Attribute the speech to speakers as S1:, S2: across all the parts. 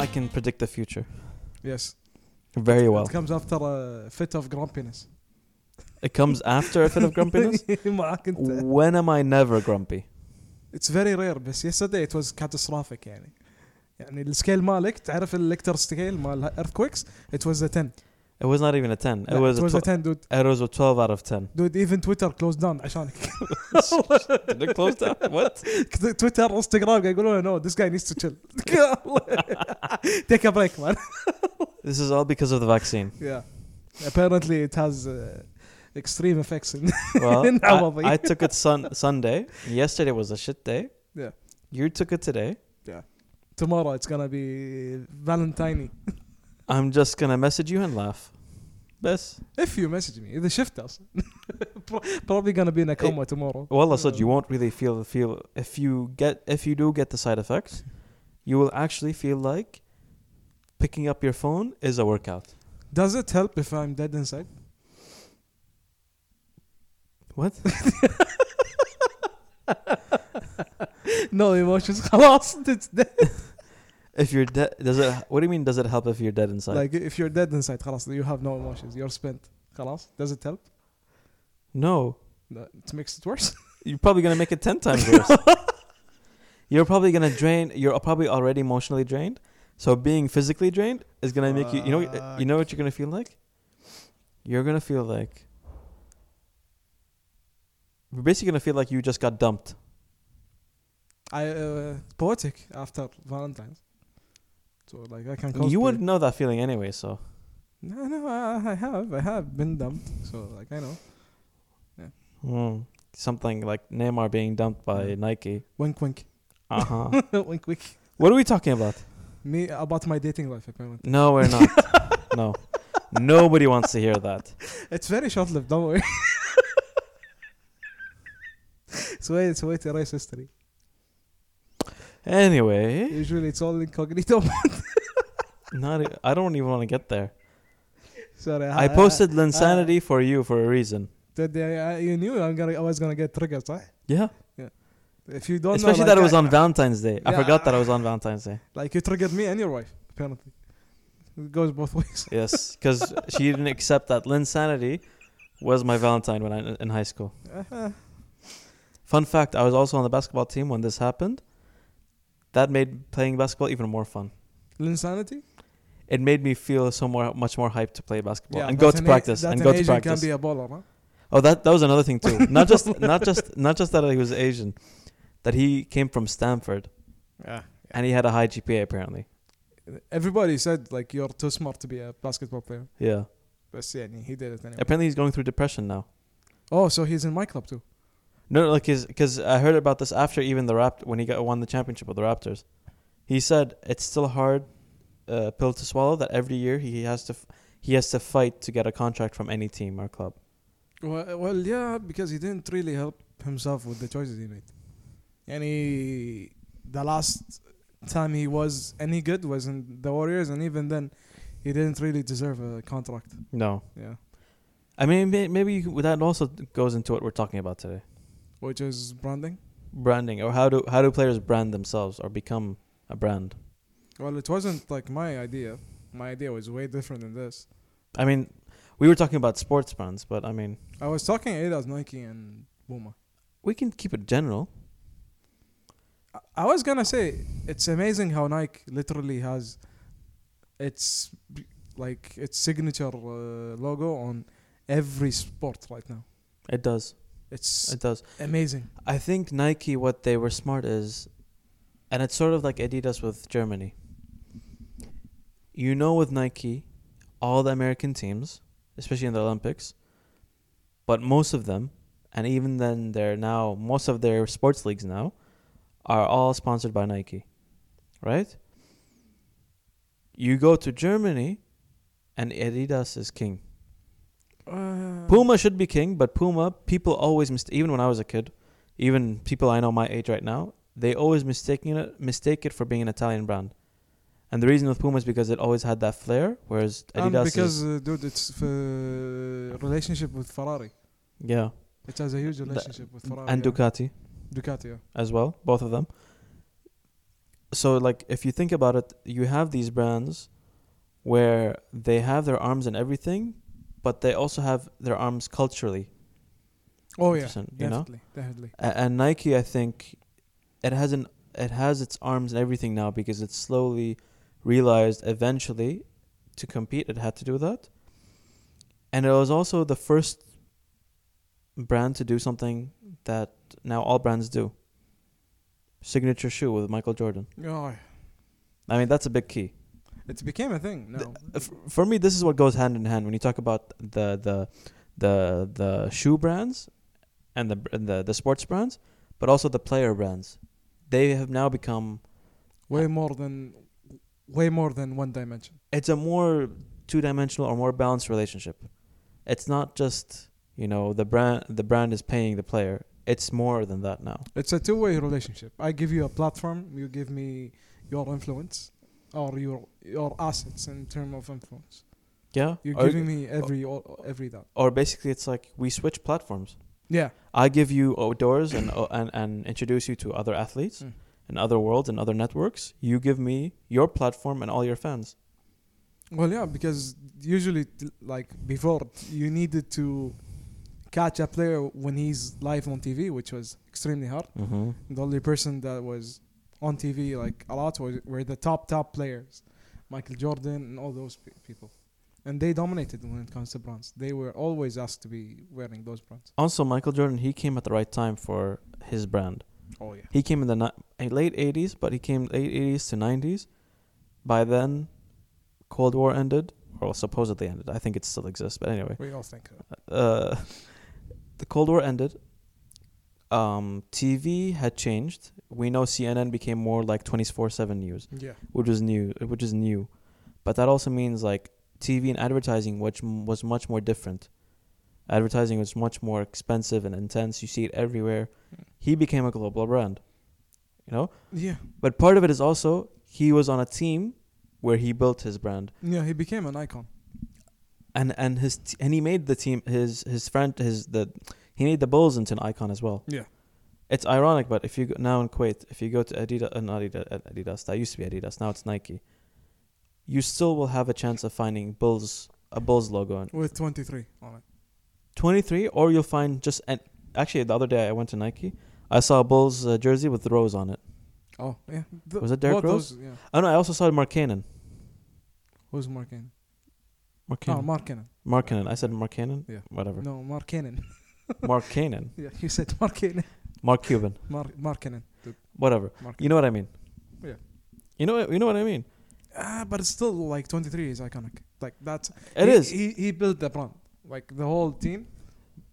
S1: I can predict the future
S2: يس
S1: very well.
S2: It comes after a fit of grumpiness.
S1: It comes after a fit of grumpiness.
S2: معاك انت.
S1: when am I never grumpy?
S2: It's very rare بس yesterday it was catastrophic يعني. يعني السكيل مالك تعرف الكتر سكيل مال earthquakes it was a 10.
S1: It was not even a 10. It
S2: لا,
S1: was,
S2: it was
S1: a
S2: a
S1: tw-
S2: 10 dude.
S1: it was a 12 out of 10.
S2: Dude even Twitter closed down عشانك.
S1: Did it close down? What?
S2: تويتر انستغرام قاعد يقولون نو ذيس جاي نيز تو تشيل تيك ا بريك مان
S1: This is all because of the vaccine.
S2: يا apparently it has uh, extreme effects in
S1: Well,
S2: Probably.
S1: I, I took it sun- Sunday. Yesterday was a shit day.
S2: Yeah.
S1: You took it today.
S2: tomorrow it's gonna be valentine
S1: I'm just gonna message you and laugh. Best.
S2: if you message me اذا شفت us probably gonna be in a
S1: Eh,
S2: coma tomorrow Uh,
S1: Well, I said
S2: Um,
S1: you won't really feel feel if you get if you do get the side effects, you will actually feel like picking up your phone is a workout.
S2: does it help if I'm dead inside
S1: What?
S2: no emotions خلاص it's dead
S1: if you're dead, does it? What do you mean? Does it help if you're dead inside?
S2: like if you're dead inside خلاص you have no emotions you're spent خلاص does it help
S1: no,
S2: no, it makes it worse
S1: you're probably gonna make it ten times worse. you're probably gonna drain. You're probably already emotionally drained. So being physically drained is gonna make you. You know. You know what you're gonna feel like. You're gonna feel like. You're basically gonna feel like you just got dumped.
S2: I uh, poetic after Valentine's. So like I can cosplay.
S1: You wouldn't know that feeling anyway. So
S2: No, no, I, I have, I have been dumped. So like I know.
S1: Hmm. something like Neymar being dumped by Nike.
S2: Wink, wink,
S1: Uh huh.
S2: wink, wink.
S1: what are we talking about?
S2: Me about my dating life apparently.
S1: No, we're not. no, nobody wants to hear that.
S2: It's very short lived. Don't worry. it's way, it's way to erase history.
S1: Anyway.
S2: Usually it's all incognito.
S1: Not. e- I don't even want to get there.
S2: Sorry.
S1: I
S2: uh,
S1: posted Linsanity for you for a reason.
S2: Today, I, you knew I'm gonna, I was gonna get triggered, right?
S1: Yeah.
S2: If you don't
S1: Especially
S2: know,
S1: that
S2: like,
S1: it was
S2: I-
S1: on Valentine's Day. I
S2: Yeah,
S1: forgot
S2: I-
S1: that I was on Valentine's Day.
S2: Like you triggered me and your wife apparently. It goes both ways.
S1: Yes, because she didn't accept that Linsanity was my Valentine when I in high school.
S2: Uh-huh.
S1: Fun fact: I was also on the basketball team when this happened. That made playing basketball even more fun.
S2: Insanity.
S1: It made me feel so more, much more hyped to play basketball and
S2: but
S1: go to
S2: an A-
S1: practice
S2: that
S1: and
S2: an
S1: go to
S2: Asian
S1: practice.
S2: can be a baller, huh?
S1: Oh, that that was another thing too. not just not just not just that he was Asian, that he came from Stanford
S2: Yeah.
S1: and he had a high GPA apparently.
S2: Everybody said like you're too smart to be a basketball player,
S1: Yeah.
S2: but yeah, he did it anyway.
S1: Apparently he's going through depression now.
S2: Oh, so he's in my club too.
S1: No, no, like his because I heard about this after even the Rapt when he got won the championship with the Raptors. He said it's still a hard uh, pill to swallow that every year he has to f- he has to fight to get a contract from any team or club.
S2: Well, uh, well, yeah, because he didn't really help himself with the choices he made. And he, the last time he was any good was in the Warriors, and even then, he didn't really deserve a contract.
S1: No,
S2: Yeah,
S1: I mean may- maybe you could- that also goes into what we're talking about today,
S2: which is branding.
S1: branding or how do how do players brand themselves or become a brand.
S2: Well, it wasn't like my idea. My idea was way different than this.
S1: I mean, we were talking about sports brands, but I mean,
S2: I was talking Adidas, Nike, and Puma.
S1: we can keep it general.
S2: I- I was gonna say it's amazing how Nike literally has its b- like its signature uh, logo on every sport right now.
S1: It does.
S2: It's
S1: It does.
S2: amazing.
S1: I think Nike, what they were smart is, and it's sort of like Adidas with Germany. You know, with Nike, all the American teams, especially in the Olympics, but most of them, and even then, they're now, most of their sports leagues now are all sponsored by Nike, right? You go to Germany, and Adidas is king.
S2: Uh,
S1: Puma should be king, but Puma people always mist- even when I was a kid, even people I know my age right now, they always mistaking it mistake it for being an Italian brand. And the reason with Puma is because it always had that flair, whereas
S2: and
S1: Adidas is,
S2: because uh, dude, it's uh, relationship with Ferrari.
S1: yeah,
S2: It has a huge relationship with Ferrari
S1: and
S2: yeah.
S1: Ducati
S2: Ducati. Yeah.
S1: as well, both of them. so like if you think about it, you have these brands where they have their arms and everything, but they also have their arms culturally.
S2: Oh yeah,
S1: Interesting, you know?
S2: definitely, definitely.
S1: A- and Nike, I think, it has an it has its arms and everything now because it's slowly realized eventually to compete it had to do that, and it was also the first brand to do something that now all brands do. Signature shoe with Michael Jordan.
S2: Oh, yeah.
S1: I mean, that's a big key.
S2: it became a thing. No,
S1: F- for me, this is what goes hand in hand when you talk about the the the the shoe brands and the br- and the the sports brands, but also the player brands. They have now become
S2: way more than, way more than one dimension.
S1: it's a more two dimensional or more balanced relationship. It's not just you know the brand the brand is paying the player. It's more than that now.
S2: It's a two-way relationship. I give you a platform, you give me your influence or your your assets in terms of influence.
S1: Yeah,
S2: You're
S1: or,
S2: giving me every all, every that.
S1: or basically it's like we switch platforms.
S2: Yeah,
S1: I give you outdoors and uh, and and introduce you to other athletes
S2: Mm.
S1: and other worlds and other networks. You give me your platform and all your fans.
S2: well, yeah, because usually, t- like before, you needed to catch a player when he's live on TV, which was extremely hard.
S1: Mm-hmm.
S2: The only person that was on TV like a lot was, were the top top players, Michael Jordan and all those pe- people, and they dominated when it comes to bronze. They were always asked to be wearing those bronze.
S1: Also, Michael Jordan he came at the right time for his brand.
S2: Oh yeah.
S1: He came in the ni- eh, late '80s, but he came late '80s to '90s. By then, Cold War ended, or supposedly ended. I think it still exists, but anyway,
S2: We all think that.
S1: uh, the Cold War ended. Um, TV had changed. We know CNN became more like 24/7 news.
S2: Yeah.
S1: which is new, which is new, but that also means like TV and advertising, which m- was much more different. Advertising was much more expensive and intense. You see it everywhere.
S2: Mm.
S1: He became a global brand, you know.
S2: Yeah.
S1: But part of it is also he was on a team where he built his brand,
S2: Yeah, he became an icon.
S1: and and his t- and he made the team his his friend his the he made the Bulls into an icon as well.
S2: Yeah.
S1: It's ironic, but if you go, now in Kuwait, if you go to Adidas, uh, not Adidas, uh, Adidas, that used to be Adidas, now it's Nike. You still will have a chance of finding Bulls a Bulls logo on
S2: With 23 on it.
S1: 23, or you'll find just an. Actually, the other day I went to Nike, I saw a Bulls uh, jersey with the rose on it.
S2: Oh, yeah. The-
S1: Was it Derrick
S2: both
S1: Rose?
S2: Those, yeah.
S1: Oh no, I also saw Mark Cannon.
S2: Who's Mark Cannon?
S1: Mark
S2: Oh,
S1: Cannon.
S2: Mark Cannon.
S1: Mark Cannon. I said Mark Cannon.
S2: Yeah.
S1: Whatever.
S2: No, Mark Cannon.
S1: Mark Cannon.
S2: yeah, you said Mark Cannon.
S1: Mark Cuban.
S2: Mark, Mark Cannon. Dude,
S1: Whatever.
S2: Mark
S1: You know what I mean.
S2: Yeah.
S1: You know. what- You know what I mean.
S2: Ah, but it's still like 23 is iconic. Like that's.
S1: It
S2: he,
S1: is.
S2: He, he built the brand. Like the whole team,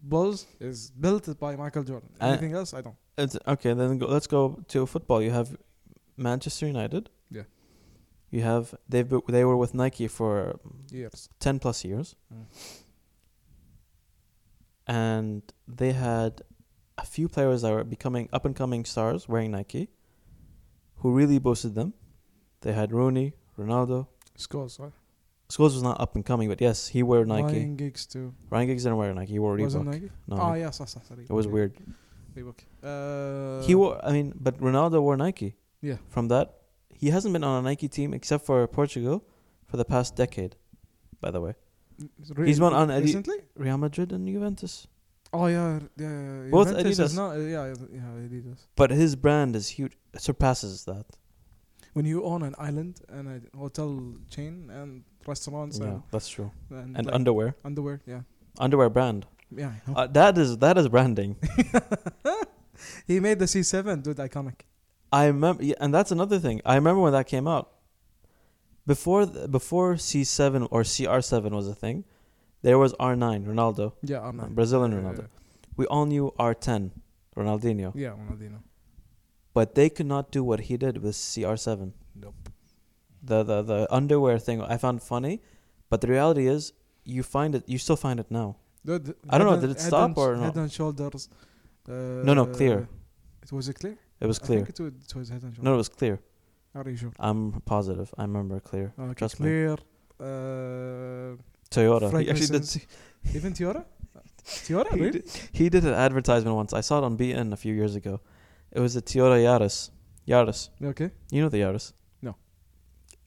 S2: Bulls, is built by Michael Jordan.
S1: I-
S2: Anything else? I don't.
S1: It's okay. Then go, let's go to football. You have Manchester United.
S2: Yeah.
S1: You have they've been, they were with Nike for
S2: Years.
S1: ten plus years,
S2: Mm.
S1: and they had a few players that were becoming up and coming stars wearing Nike, who really boosted them. They had Rooney, Ronaldo.
S2: Scores, right?
S1: Scholes was not up and coming, but yes, he wore Nike. Ryan,
S2: Nine gigs too.
S1: Giggs didn't wear Nike. He wore Reebok.
S2: Wasn't Nike?
S1: No,
S2: Oh, yes, yes, yes,
S1: it was
S2: Reebok,
S1: weird.
S2: Reebok. Uh,
S1: he wore. I mean, but Ronaldo wore Nike.
S2: Yeah.
S1: from that. He hasn't been on a Nike team except for Portugal for the past decade, by the way. He's been on Adi-
S2: recently.
S1: Real Madrid and Juventus.
S2: Oh yeah, yeah. yeah.
S1: Both
S2: Juventus is
S1: Adidas.
S2: Not, uh, yeah, yeah, Adidas.
S1: But his brand is huge, it surpasses that.
S2: When you own an island and a hotel chain and restaurants
S1: Yeah, that's true.
S2: and and,
S1: And
S2: like,
S1: underwear.
S2: underwear, yeah,
S1: Underwear brand.
S2: yeah. I know.
S1: Uh, that is that is branding.
S2: he made the C7, dude, iconic.
S1: I remember, and that's another thing. I remember when that came out. Before th- before C7 or CR7 was a thing, there was R9 Ronaldo,
S2: Yeah, I'm
S1: uh,
S2: not.
S1: Brazilian
S2: Yeah,
S1: Ronaldo. We all knew R10 Ronaldinho.
S2: Yeah, Ronaldinho.
S1: but they could not do what he did with CR7.
S2: Nope.
S1: The the the underwear thing I found funny, but the reality is you find it you still find it now.
S2: Dude,
S1: I don't know,
S2: head
S1: did
S2: and-
S1: it
S2: head
S1: stop
S2: and-
S1: or not?
S2: Head and shoulders. Uh,
S1: no, clear.
S2: It was it clear.
S1: It was
S2: I think
S1: clear.
S2: it was, it was head and shoulders.
S1: No, it was clear.
S2: Are you sure?
S1: I'm positive. I remember clear.
S2: Okay,
S1: Trust me.
S2: clear. Uh,
S1: Toyota. He actually did.
S2: even Tiora. Tiora,
S1: He
S2: really?
S1: did, he did an advertisement once. I saw it on BN a few years ago. It was a Toyota Yaris. Yaris.
S2: Okay.
S1: You know the Yaris?
S2: No.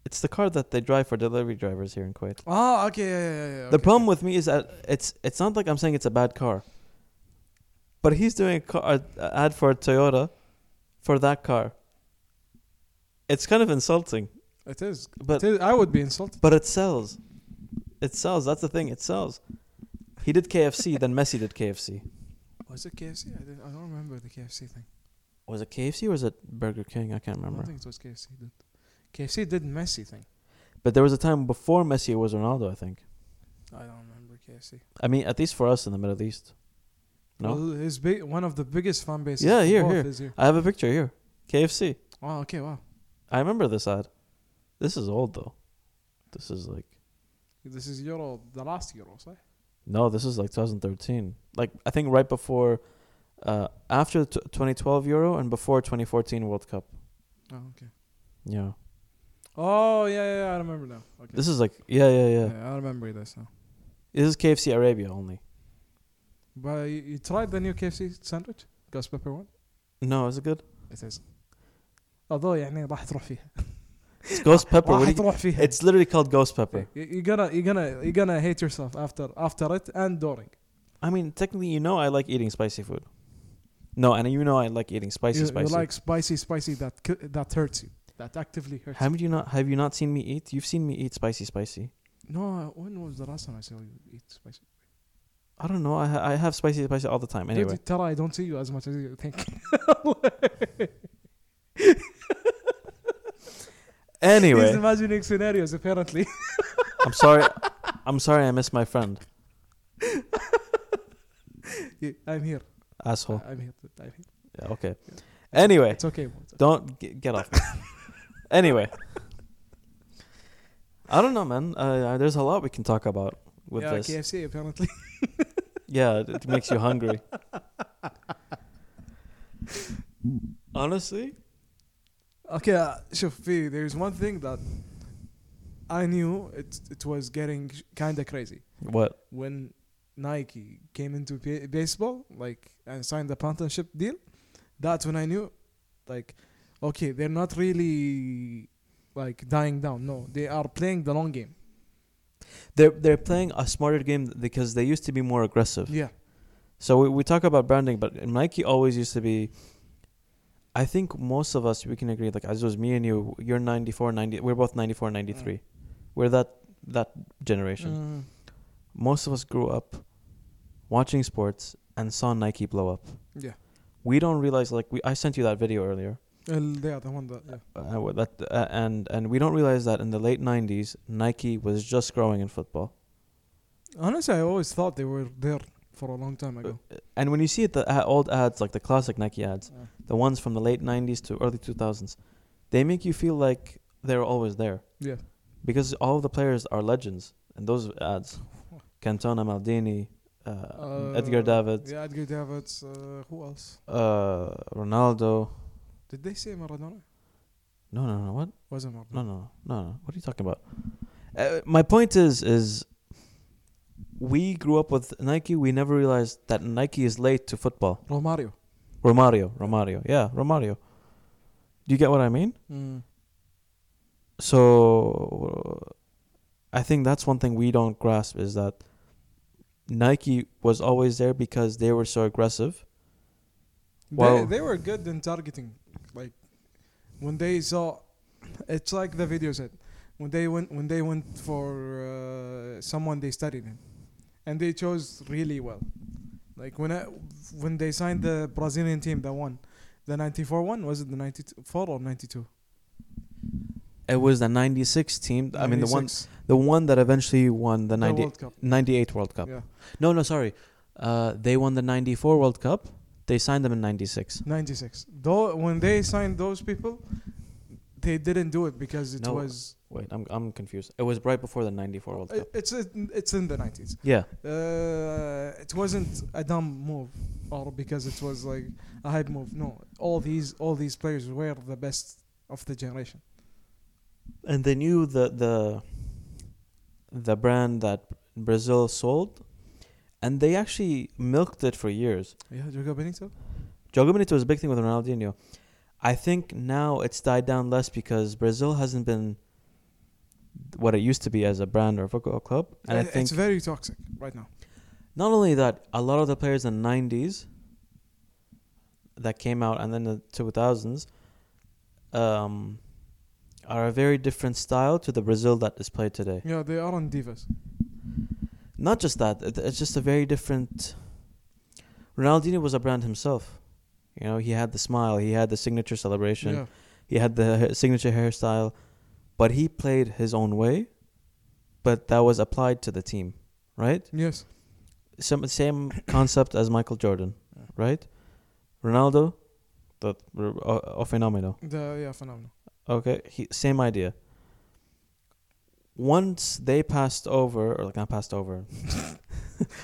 S1: It's the car that they drive for delivery drivers here in Kuwait.
S2: Ah, okay, yeah, yeah, yeah. yeah,
S1: The
S2: okay,
S1: problem
S2: okay.
S1: with me is that it's it's not like I'm saying it's a bad car, but he's doing a car a ad for a Toyota, for that car. It's kind of insulting,
S2: it is,
S1: but
S2: it is. I would be insulted.
S1: but it sells, it sells. That's the thing. It sells. He did KFC, then Messi did KFC.
S2: Was Oh, it KFC? I, didn't, I don't remember the KFC thing.
S1: Was it KFC or was it Burger King? I can't
S2: I don't
S1: remember.
S2: think it was KFC. Did. KFC did messy thing.
S1: But there was a time before Messi it was Ronaldo. I think.
S2: I don't remember KFC.
S1: I mean, at least for us in the Middle East. No?
S2: Well, his big, one of the biggest fan bases.
S1: Yeah,
S2: for
S1: here,
S2: both
S1: here.
S2: Is here.
S1: I have a picture here. KFC.
S2: Oh, okay, wow.
S1: I remember this ad. This is old though. This is like
S2: This is Euro, the last Euro, صح?
S1: no, this is like 2013. Like I think right before, uh, after t- 2012 Euro and before 2014 World Cup.
S2: Oh, okay.
S1: Yeah,
S2: Oh, yeah, yeah, yeah, I remember now. Okay.
S1: this is like yeah, yeah, yeah.
S2: yeah, I remember this now.
S1: This is KFC Arabia only.
S2: But you, you tried the new KFC sandwich? Ghost pepper one?
S1: No, is it good?
S2: It is. although يعني راح تروح فيها.
S1: It's ghost pepper. what do
S2: راح
S1: you-
S2: تروح فيها.
S1: it's literally called ghost pepper.
S2: You- you're gonna you're gonna you're gonna hate yourself after after it and during.
S1: I mean, technically, you know, I like eating spicy food. No, and you know, I like eating spicy,
S2: you, you
S1: spicy.
S2: like spicy, spicy that ki- that hurts you. That actively hurts. you.
S1: Haven't you not? Have you not seen me eat? You've seen me eat spicy, spicy.
S2: No, uh, when was the last time I saw you eat spicy?
S1: I don't know. I ha- I have spicy, spicy all the time. Anyway,
S2: Dude, Tara, I don't see you as much as you think. He's
S1: anyway.
S2: imagining scenarios apparently.
S1: I'm sorry. I'm sorry. I missed my friend,
S2: Yeah, I'm here.
S1: asshole.
S2: I'm here. I'm here.
S1: Yeah, okay. Anyway,
S2: It's okay. bro. It's okay.
S1: don't g- get off. me. anyway, I don't know, man. Uh, Uh, there's a lot we can talk about with
S2: yeah,
S1: this.
S2: KFC apparently.
S1: Yeah, it- it makes you hungry. Honestly,
S2: Okay, uh, شوف في there's one thing that I knew it it was getting kind of crazy
S1: what?
S2: when Nike came into ba- baseball like and signed the partnership deal. That's when I knew like okay, they're not really like dying down. No, they are playing the long game.
S1: They're they're playing a smarter game because they used to be more aggressive.
S2: Yeah.
S1: So we, we talk about branding, but Nike always used to be. I think most of us we can agree. Like as was me and you, you're 94, 90. We're both 94, 93. We're that that generation.
S2: Mm.
S1: Most of us grew up watching sports and saw Nike blow up.
S2: Yeah.
S1: We don't realize like we. I sent you that video earlier.
S2: Well, they are the one that yeah.
S1: Uh, with that uh, and and we don't realize that in the late 90s Nike was just growing in football.
S2: Honestly, I always thought they were there for a long time ago.
S1: And when you see it, the uh, old ads like the classic Nike ads.
S2: Uh,
S1: the ones from the late 90s to early 2000s, they make you feel like they're always there.
S2: Yeah.
S1: Because all of the players are legends in those ads. Cantona, Maldini, uh, Edgar
S2: Uh,
S1: Davids,
S2: Yeah, Edgar Davids. Uh, who else?
S1: uh, Ronaldo.
S2: Did they say Maradona?
S1: No, no, no. What?
S2: Wasn't Maradona.
S1: No, no, no, no. What are you talking about? Uh, my point is, is we grew up with Nike. We never realized that Nike is late to football.
S2: Romario.
S1: Romario, Romario. Yeah, Romario. Do you get what I mean?
S2: Hmm.
S1: so I think that's one thing we don't grasp is that Nike was always there because they were so aggressive.
S2: they,
S1: Well-
S2: they were good in targeting. Like when they saw, it's like the video said, when they went when they went for uh, someone they studied in, and they chose really well. Like when I, when they signed the Brazilian team that won, the '94 one was it the '94 or '92?
S1: It was the 96 team, I mean the one the one that eventually won the, 90,
S2: World Cup.
S1: 98 World Cup.
S2: Yeah,
S1: No, no, sorry. Uh, they won the 94 World Cup. They signed them in 96.
S2: '96. Though when they signed those people, they didn't do it because it
S1: No,
S2: was
S1: Wait, I'm I'm confused. It was right before the 94 World Cup.
S2: it, it's it's in the '90s.
S1: Yeah.
S2: uh, it wasn't a dumb move or because it was like a hype move. No, all these all these players were the best of the generation.
S1: and they knew the the the brand that Brazil sold, and they actually milked it for years.
S2: Yeah, Jogo Benito.
S1: Jogo Benito was a big thing with Ronaldinho. I think now it's died down less because Brazil hasn't been what it used to be as a brand or a football club, and I
S2: It-
S1: think
S2: it's very toxic right now.
S1: not only that, a lot of the players in the 90s that came out and then the 2000s um, are a very different style to the Brazil that is played today.
S2: Yeah, they are on divas.
S1: Not just that, it- it's just a very different. Ronaldinho was a brand himself. You know, he had the smile, he had the signature celebration,
S2: Yeah.
S1: he had the ha- signature hairstyle, but he played his own way, but that was applied to the team, right?
S2: Yes.
S1: some same concept as Michael Jordan,
S2: Yeah.
S1: right? Ronaldo, that r- o- o- phenomenal.
S2: The yeah, phenomenal.
S1: Okay, he, same idea. Once they passed over, or like not passed over,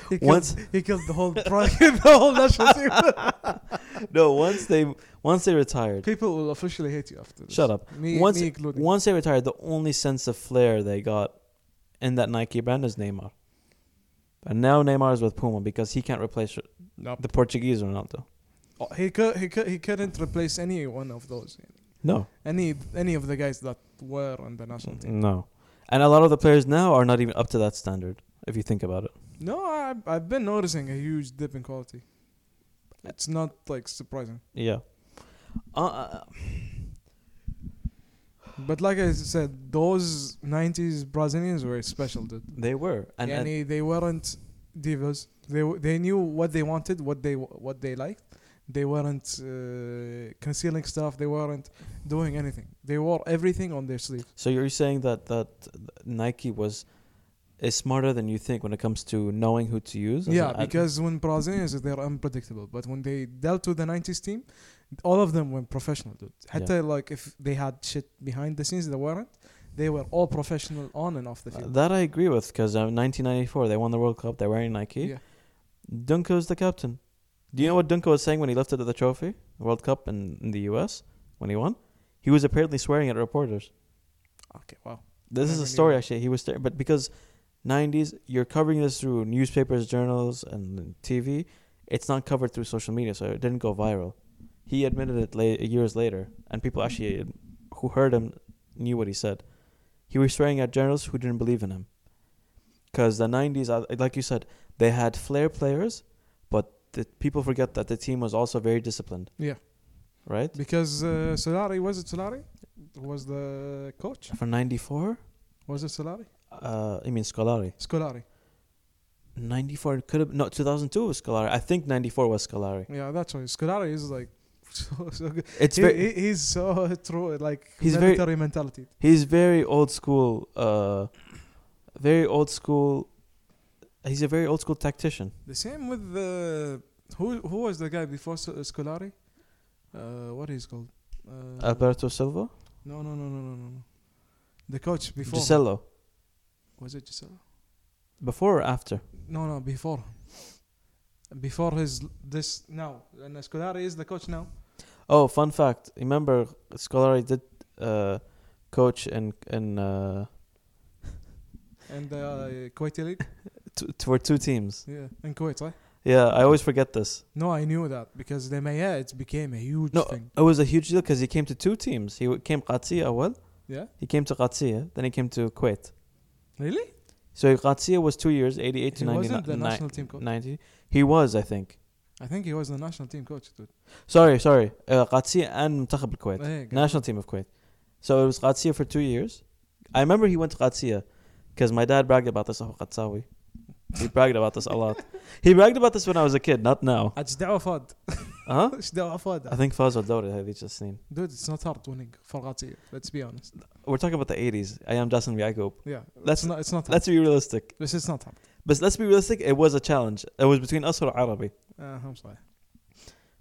S2: He killed,
S1: Once-
S2: he killed the whole pro- the whole national team.
S1: no, once they once they retired,
S2: People will officially hate you after this.
S1: Shut up.
S2: Me,
S1: Once-
S2: me including.
S1: once they retired, the only sense of flair they got in that Nike brand is Neymar, and now Neymar is with Puma because he can't replace
S2: Nope.
S1: the Portuguese Ronaldo.
S2: Oh, he could he could he couldn't replace any one of those.
S1: No,
S2: Any any of the guys that were on the national team.
S1: no, and a lot of the players now are not even up to that standard. If you think about it.
S2: No, I I've been noticing a huge dip in quality. It's not like surprising.
S1: Yeah. Uh,
S2: But like I said, those '90s Brazilians were special, dude.
S1: they were, and, and
S2: يعني they weren't divas. They w- they knew what they wanted, what they w- what they liked. They weren't uh, concealing stuff. They weren't doing anything. They wore everything on their sleeve.
S1: so you're saying that that Nike was is smarter than you think when it comes to knowing who to use. as
S2: Yeah,
S1: an ad-
S2: because when Brazilians they're unpredictable, but when they dealt with the '90s team, all of them were professional, dude. Hatta like if they had shit behind the scenes, they weren't. They were all professional on and off the
S1: Uh,
S2: field.
S1: that I agree with because uh, 1994 they won the World Cup. They're wearing Nike.
S2: Yeah.
S1: Dunko is the captain. Do you know what Dunko was saying when he lifted the trophy, World Cup in, in the U.S. when he won? He was apparently swearing at reporters.
S2: Okay, wow.
S1: This is
S2: Never
S1: a
S2: knew
S1: story
S2: that.
S1: actually. He was there, but because 90s, you're covering this through newspapers, journals, and TV. It's not covered through social media, so it didn't go viral. He admitted it la- years later, and people actually who heard him knew what he said. He was swearing at journalists who didn't believe in him. Because the 90s, uh, like you said, they had flair players, but the, people forget that the team was also very disciplined.
S2: Yeah.
S1: Right?
S2: Because uh, Solari was it Solari? Was the coach?
S1: For 94,
S2: Was it Solari?
S1: uh, I mean Scolari.
S2: Scolari.
S1: 94 could have no 2002 was Scolari. I think 94 was Scolari.
S2: Yeah, that's why Scolari is like so, so good.
S1: It's
S2: He,
S1: very
S2: he, he's so true, like
S1: He's very-
S2: military mentality.
S1: he's very old school uh very old school he's a very old school tactician.
S2: The same with the who who was the guy before S- Scolari? Uh, what is called? Uh,
S1: Alberto Silva,
S2: no, no, no, no, no, no, no. The coach before him.
S1: Gisello
S2: was it Giselle?
S1: before or after?
S2: No, no, before. him. Before his this now, and Scolari is the coach now.
S1: Oh, fun fact. Remember Scolari did uh coach in in uh
S2: And the uh, Kuwaiti league,
S1: t- for two teams.
S2: yeah, in Kuwait, right?
S1: Yeah, I always forget this.
S2: No, I knew that because the Maya it became a huge
S1: No,
S2: thing.
S1: it was a huge deal cuz he came to two teams. He w- came Qatsi awal,
S2: Yeah,
S1: he came to Qatsi, then he came to Kuwait.
S2: really?
S1: So Garcia was two years, 88 to
S2: He
S1: 99,
S2: wasn't the national team coach.
S1: 90. He was, I think.
S2: I think he was the national team coach, dude.
S1: Sorry, sorry. Uh, Garcia and Muntakhab al Kuwait.
S2: Hey, guys.
S1: National team of Kuwait. So it was Garcia for two years. I remember he went to Garcia because my dad bragged about this. Oh, Qatsawi. He bragged about this a lot. He bragged about this when I was a kid, not now.
S2: ايش دعوه فاد؟
S1: Huh?
S2: ايش دعوه فاد؟
S1: I think Faz al had each seen.
S2: Dude, it's not hard winning for Gazi. Let's be honest.
S1: We're talking about the 80s. I am Jason Yaqub.
S2: Yeah,
S1: Let's-
S2: it's not. It's not hard.
S1: Let's be realistic.
S2: This is not hard.
S1: But let's be realistic. It was a challenge. It was between us or Arabi.
S2: Uh, I'm sorry.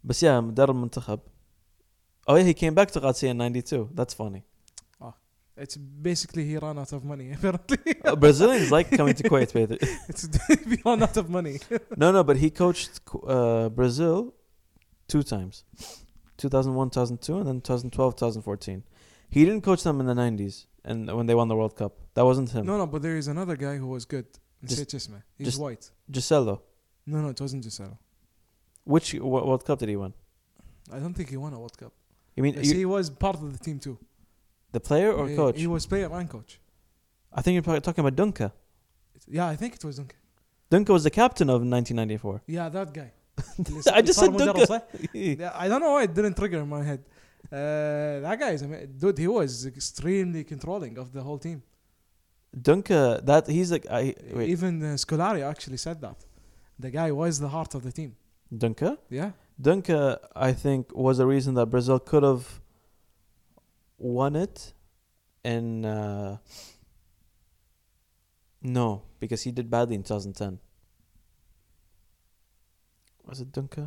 S1: بس يا مدرب منتخب oh yeah he came back to Garcia in 92 that's funny
S2: It's basically he ran out of money. Apparently,
S1: Uh, Brazilians like coming to Kuwait by the-
S2: it's he ran out of money.
S1: no no but he coached Ku- uh, Brazil two times 2001 2002 and then 2012 2014 he didn't coach them in the 90s and when they won the World Cup that wasn't him
S2: No, no, but there is another guy who was good.
S1: Just-
S2: Just, اسمه. He's
S1: just-
S2: white.
S1: Gisello
S2: No, no, it wasn't Gisela.
S1: which w- World Cup did he win
S2: I don't think he won a World Cup.
S1: You mean
S2: Yes,
S1: you,
S2: he was part of the team too.
S1: the player or
S2: He-
S1: coach?
S2: He was player and coach.
S1: I think you're probably talking about Dunka.
S2: Yeah, I think it was Duncan.
S1: Dunka was the captain of 1994.
S2: Yeah, that guy.
S1: I just said Duncan.
S2: Yeah, I don't know why it didn't trigger in my head. Uh, that guy is, ama- dude, he was extremely controlling of the whole team.
S1: Dunka, that he's like I wait.
S2: Even uh, Scolari actually said that. The guy was the heart of the team.
S1: Dunka.
S2: Yeah.
S1: Dunka, I think, was the reason that Brazil could have won it. In uh, no, because he did badly in 2010. Was it Dunka?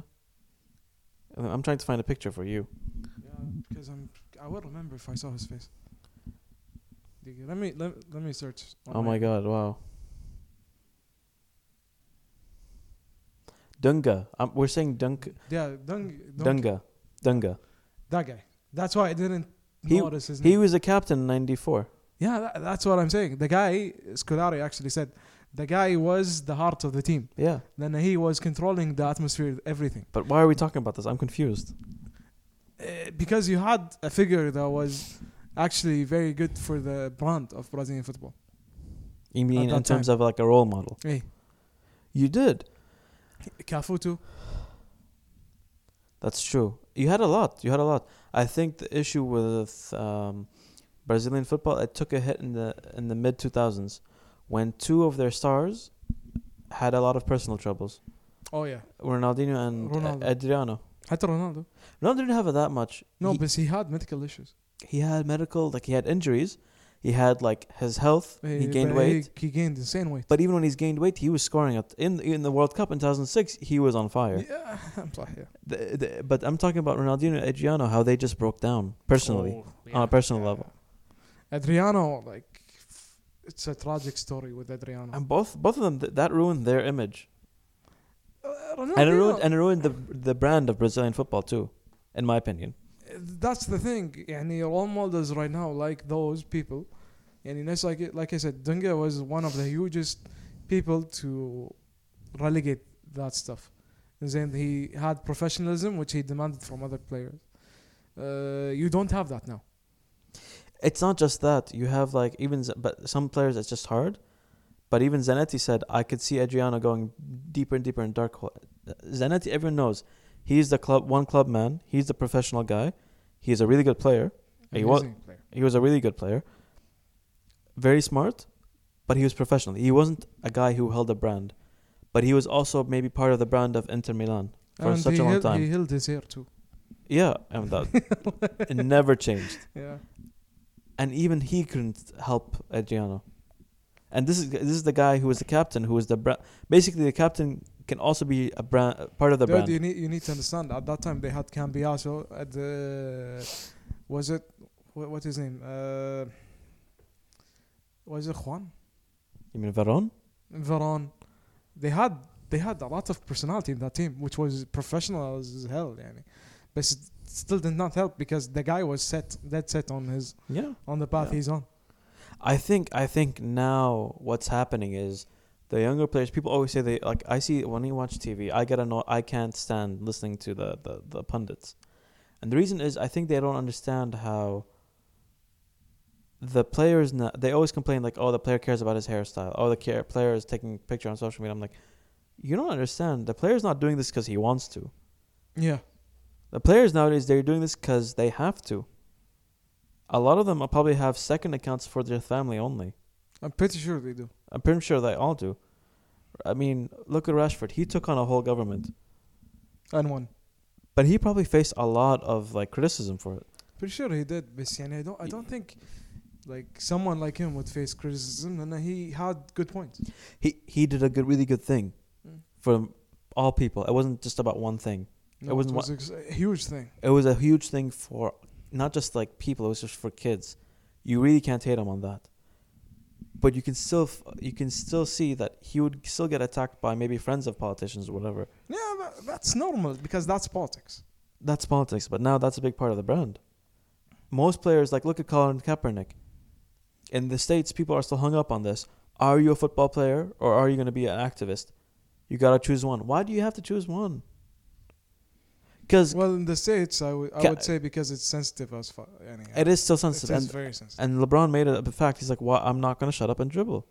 S1: I'm trying to find a picture for you.
S2: Because I'm, I will remember if I saw his face. Let me let, let me search.
S1: Oh my god, wow. Dunga. Um, we're saying dunk,
S2: Yeah, Dung, Dung,
S1: Dunga. Dunga.
S2: that guy. That's why I didn't
S1: He-
S2: notice his
S1: He
S2: name.
S1: was a captain in 94.
S2: Yeah, that, that's what I'm saying. The guy, Scolari actually said, the guy was the heart of the team.
S1: Yeah.
S2: Then he was controlling the atmosphere, everything.
S1: But why are we talking about this? I'm confused.
S2: Uh, because you had a figure that was actually very good for the brand of Brazilian football.
S1: You mean
S2: that
S1: in terms
S2: time.
S1: of like a role model?
S2: Hey,
S1: You did.
S2: Cafu too.
S1: That's true. You had a lot. You had a lot. I think the issue with um, Brazilian football it took a hit in the in the mid 2000s when two of their stars had a lot of personal troubles.
S2: Oh yeah,
S1: Ronaldinho and
S2: Ronaldo.
S1: Adriano.
S2: حتى Ronaldo.
S1: Ronaldo didn't have it that much.
S2: No,
S1: he,
S2: but he had medical issues.
S1: he had medical, like he had injuries. He had like his health. he
S2: Uh,
S1: gained
S2: but
S1: weight.
S2: He, he gained insane weight.
S1: but even when he's gained weight, he was scoring at in in the World Cup in 2006. He was on fire.
S2: Yeah, I'm sorry. Yeah.
S1: The- the- but I'm talking about Ronaldinho and Adriano, how they just broke down personally
S2: Oh,
S1: on a
S2: yeah.
S1: personal
S2: Yeah.
S1: level.
S2: Adriano, like, it's a tragic story with Adriano.
S1: And both both of them th- that ruined their image,
S2: Uh,
S1: and it
S2: Ronaldinho-
S1: ruined and it ruined the the brand of Brazilian football too, in my opinion.
S2: that's the thing يعني role models right now like those people يعني ناس like like I said Dunga was one of the hugest people to relegate that stuff and then he had professionalism which he demanded from other players uh, you don't have that now
S1: It's not just that you have like even Z- but some players it's just hard, but even Zanetti said I could see Adriano going deeper and deeper in dark hole. Zanetti, everyone knows, he's the club one club man. He's the professional guy. He's a really good player. He was
S2: Amazing player.
S1: he was a really good player. Very smart, but he was professional. He wasn't a guy who held a brand, but he was also maybe part of the brand of Inter Milan. for
S2: and
S1: such
S2: he
S1: a long
S2: held-
S1: time.
S2: he held his hair too
S1: Yeah, and that it never changed.
S2: yeah
S1: And even he couldn't help Adriano. And this is this is the guy who was the captain, who was the bra- basically the captain can also be a brand part of the
S2: Dude,
S1: brand.
S2: you need you need to understand. At that time, they had Cambiaso at the was it what, what his name? Uh, was it Juan
S1: You mean Veron?
S2: Veron? They had they had a lot of personality in that team, which was professional as hell. Yani. but it still did not help because the guy was set dead set on his
S1: Yeah.
S2: on the path
S1: Yeah.
S2: he's on.
S1: I think I think now what's happening is the younger players. People always say they like. I see when you watch TV, I get annoyed. I can't stand listening to the, the the pundits, and the reason is I think they don't understand how the players. Now, they always complain like, "Oh, the player cares about his hairstyle. Oh, the care, player is taking picture on social media." I'm like, you don't understand. The player's not doing this because he wants to.
S2: Yeah,
S1: The players nowadays they're doing this because they have to. A lot of them uh, probably have second accounts for their family only.
S2: I'm pretty sure they do.
S1: I'm pretty sure they all do. I mean, look at Rashford. He took on a whole government,
S2: And one.
S1: but he probably faced a lot of like criticism for it.
S2: Pretty sure he did, but يعني I don't I don't think like someone like him would face criticism, and he had good points.
S1: He he did a good, really good thing
S2: Mm.
S1: for all people. It wasn't just about one thing.
S2: No,
S1: wasn't
S2: was ex- a huge thing.
S1: It was a huge thing for not just like people. It was just for kids. You really can't hate him on that. But you can still f- you can still see that he would still get attacked by maybe friends of politicians or whatever.
S2: Yeah, but that's normal because that's politics.
S1: That's politics, but now that's a big part of the brand. Most players, like look at Colin Kaepernick. In the states, people are still hung up on this. Are you a football player or are you going to be an activist? You got to choose one. Why do you have to choose one? because
S2: Well, in the states, I would I
S1: Ca-
S2: would say because it's sensitive as fuck. Anyhow.
S1: it is still
S2: It is
S1: sensitive. And,
S2: very sensitive.
S1: and LeBron made it a fact. He's like, "Why I'm not going to shut up and dribble."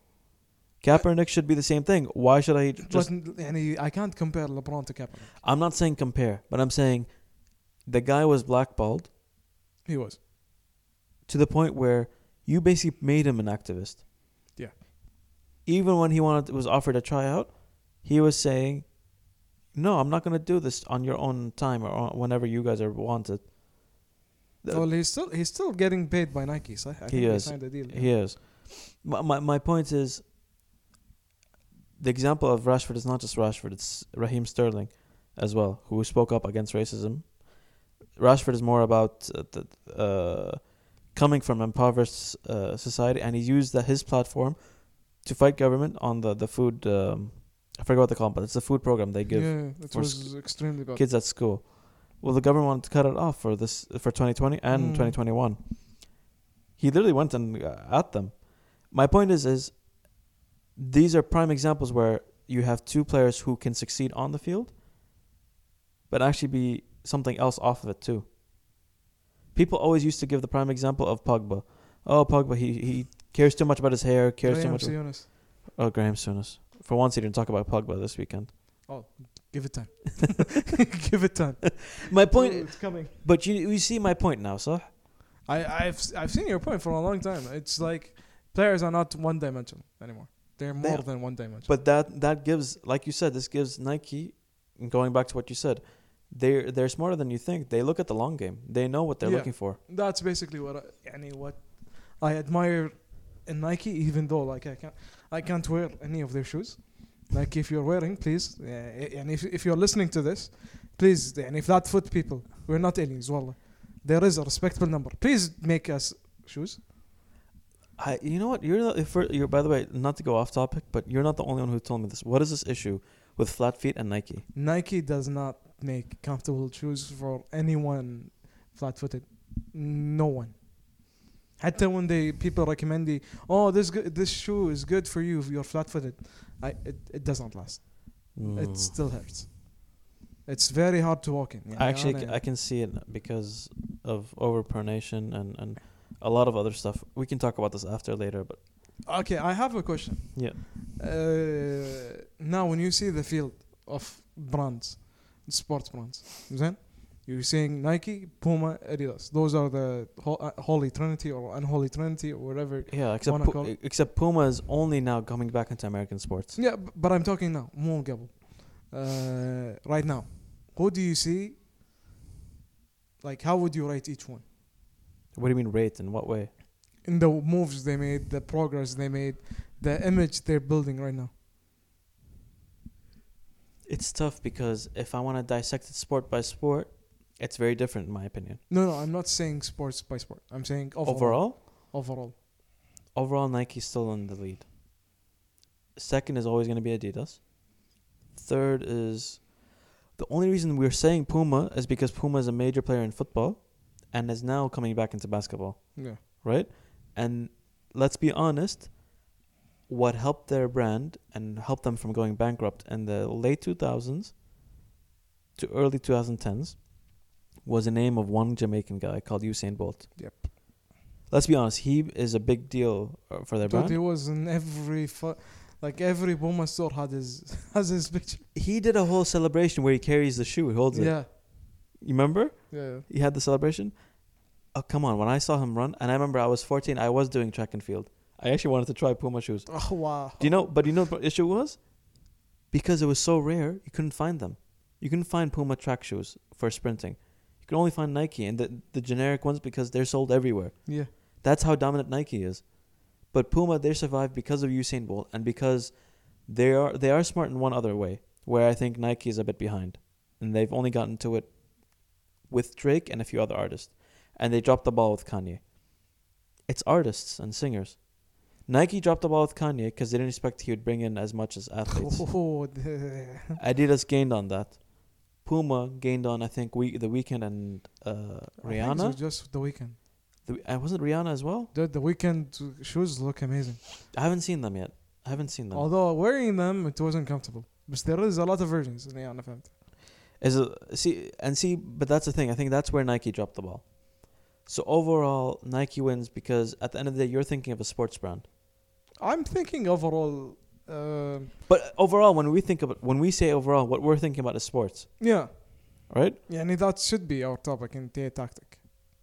S1: Kaepernick should be the same thing. Why should I just?
S2: But يعني, I can't compare LeBron to Kaepernick.
S1: I'm not saying compare, but I'm saying the guy was blackballed
S2: He was.
S1: to the point where you basically made him an activist.
S2: Yeah.
S1: Even when he wanted was offered a tryout, he was saying, "No, I'm not going to do this on your own time or on, whenever you guys are wanted." The-
S2: well, he's still he's still getting paid by Nike. So I think
S1: He
S2: he
S1: is.
S2: signed a deal.
S1: He is. My, my my point is, the example of Rashford is not just Rashford; it's Raheem Sterling, as well, who spoke up against racism. Rashford is more about uh, the, uh, coming from impoverished uh, society, and he used that his platform to fight government on the the food. Um, I forget what they call it, but it's the food program they give
S2: yeah, it
S1: for
S2: was extremely bad.
S1: kids at school. Well, the government wanted to cut it off for this for 2020 and
S2: Mm.
S1: 2021. He literally went and uh, at them. My point is, is these are prime examples where you have two players who can succeed on the field, but actually be something else off of it too. People always used to give the prime example of Pogba. Oh, Pogba, he he cares too much about his hair, cares
S2: Graham
S1: too much.
S2: Souness.
S1: Oh, Graham Souness. For once, he didn't talk about Pogba this weekend.
S2: Give it time. Give it time.
S1: My point,
S2: it's coming.
S1: but you you see my point now, sir.
S2: I, I've I've seen your point for a long time. It's like players are not one dimensional anymore. They're
S1: They
S2: more
S1: are.
S2: than one dimensional.
S1: But that that gives, like you said, this gives Nike. Going back to what you said, they're they're smarter than you think. They look at the long game. They know what they're
S2: Yeah.
S1: looking for.
S2: That's basically what I, any what I admire in Nike. Even though like I can't I can't wear any of their shoes. Like if you're wearing, please, uh, and if if you're listening to this, please, and if that foot people, we're not aliens. Wallah, there is a respectable number. Please make us shoes.
S1: I, you know what? You're the, if we're, you're by the way, not to go off topic, but you're not the only one who told me this. What is this issue with flat feet and Nike?
S2: Nike does not make comfortable shoes for anyone flat-footed. No one. Hatta when they people recommend the oh this go- this shoe is good for you if you're flat-footed, I it, it doesn't last. It
S1: Mm.
S2: still hurts. It's very hard to walk in. يعني
S1: I actually, c-
S2: أنا-
S1: I can see it because of overpronation and and a lot of other stuff. We can talk about this after later, but
S2: okay, I have a question.
S1: Yeah.
S2: Uh, now, when you see the field of brands, sports brands, then you're seeing Nike, Puma, Adidas. Those are the ho- uh, holy trinity or unholy trinity or whatever.
S1: yeah, except
S2: Wanna
S1: Pu-
S2: call-
S1: except Puma is only now coming back into American sports.
S2: Yeah, b- but I'm talking now. مو قبل. Uh, right now, who do you see? Like, how would you rate each one?
S1: What do you mean rate? In what way?
S2: In the moves they made, the progress they made, the image they're building right now.
S1: It's tough because if I want to dissect it sport by sport, it's very different in my opinion.
S2: No, no, I'm not saying sports by sport. I'm saying overall.
S1: Overall,
S2: Overall.
S1: overall Nike's still in the lead. Second is always going to be Adidas. Third is the only reason we're saying Puma is because Puma is a major player in football and is now coming back into basketball,
S2: Yeah.
S1: right? And let's be honest, what helped their brand and helped them from going bankrupt in the late 2000s to early 2010s was the name of one Jamaican guy called Usain Bolt.
S2: Yep.
S1: Let's be honest, he is a big deal uh, for their
S2: Dude,
S1: brand.
S2: he was in every fu- like every Puma store had his has his picture.
S1: He did a whole celebration where he carries the shoe, he holds it.
S2: Yeah.
S1: You remember?
S2: Yeah.
S1: He had the celebration. Oh, come on. When I saw him run, and I remember I was 14, I was doing track and field. I actually wanted to try Puma shoes.
S2: Oh wow.
S1: Do you know? But you know what the issue was? Because it was so rare, you couldn't find them. You couldn't find Puma track shoes for sprinting. You could only find Nike and the, the generic ones because they're sold everywhere.
S2: Yeah.
S1: That's how dominant Nike is. But Puma, they survived because of Usain Bolt and because they are they are smart in one other way, where I think Nike is a bit behind, and they've only gotten to it with Drake and a few other artists, and they dropped the ball with Kanye. It's artists and singers. Nike dropped the ball with Kanye because they didn't expect he would bring in as much as athletes.
S2: Oh, the-
S1: Adidas gained on that. Puma gained on I think we the weekend and uh,
S2: I think it was
S1: Rihanna.
S2: just the weekend.
S1: The, uh, wasn't Rihanna as well?
S2: Dude, the weekend shoes look amazing.
S1: I haven't seen them yet. I haven't seen them.
S2: Although wearing them, it wasn't comfortable. But there is a lot of versions. Yeah, I فهمت.
S1: Is a, see and see, but that's the thing. I think that's where Nike dropped the ball. So overall, Nike wins because at the end of the day, you're thinking of a sports brand.
S2: I'm thinking overall. Uh,
S1: But overall, when we think about when we say overall, what we're thinking about is sports,
S2: yeah,
S1: right?
S2: يعني that should be our topic in TA tactic.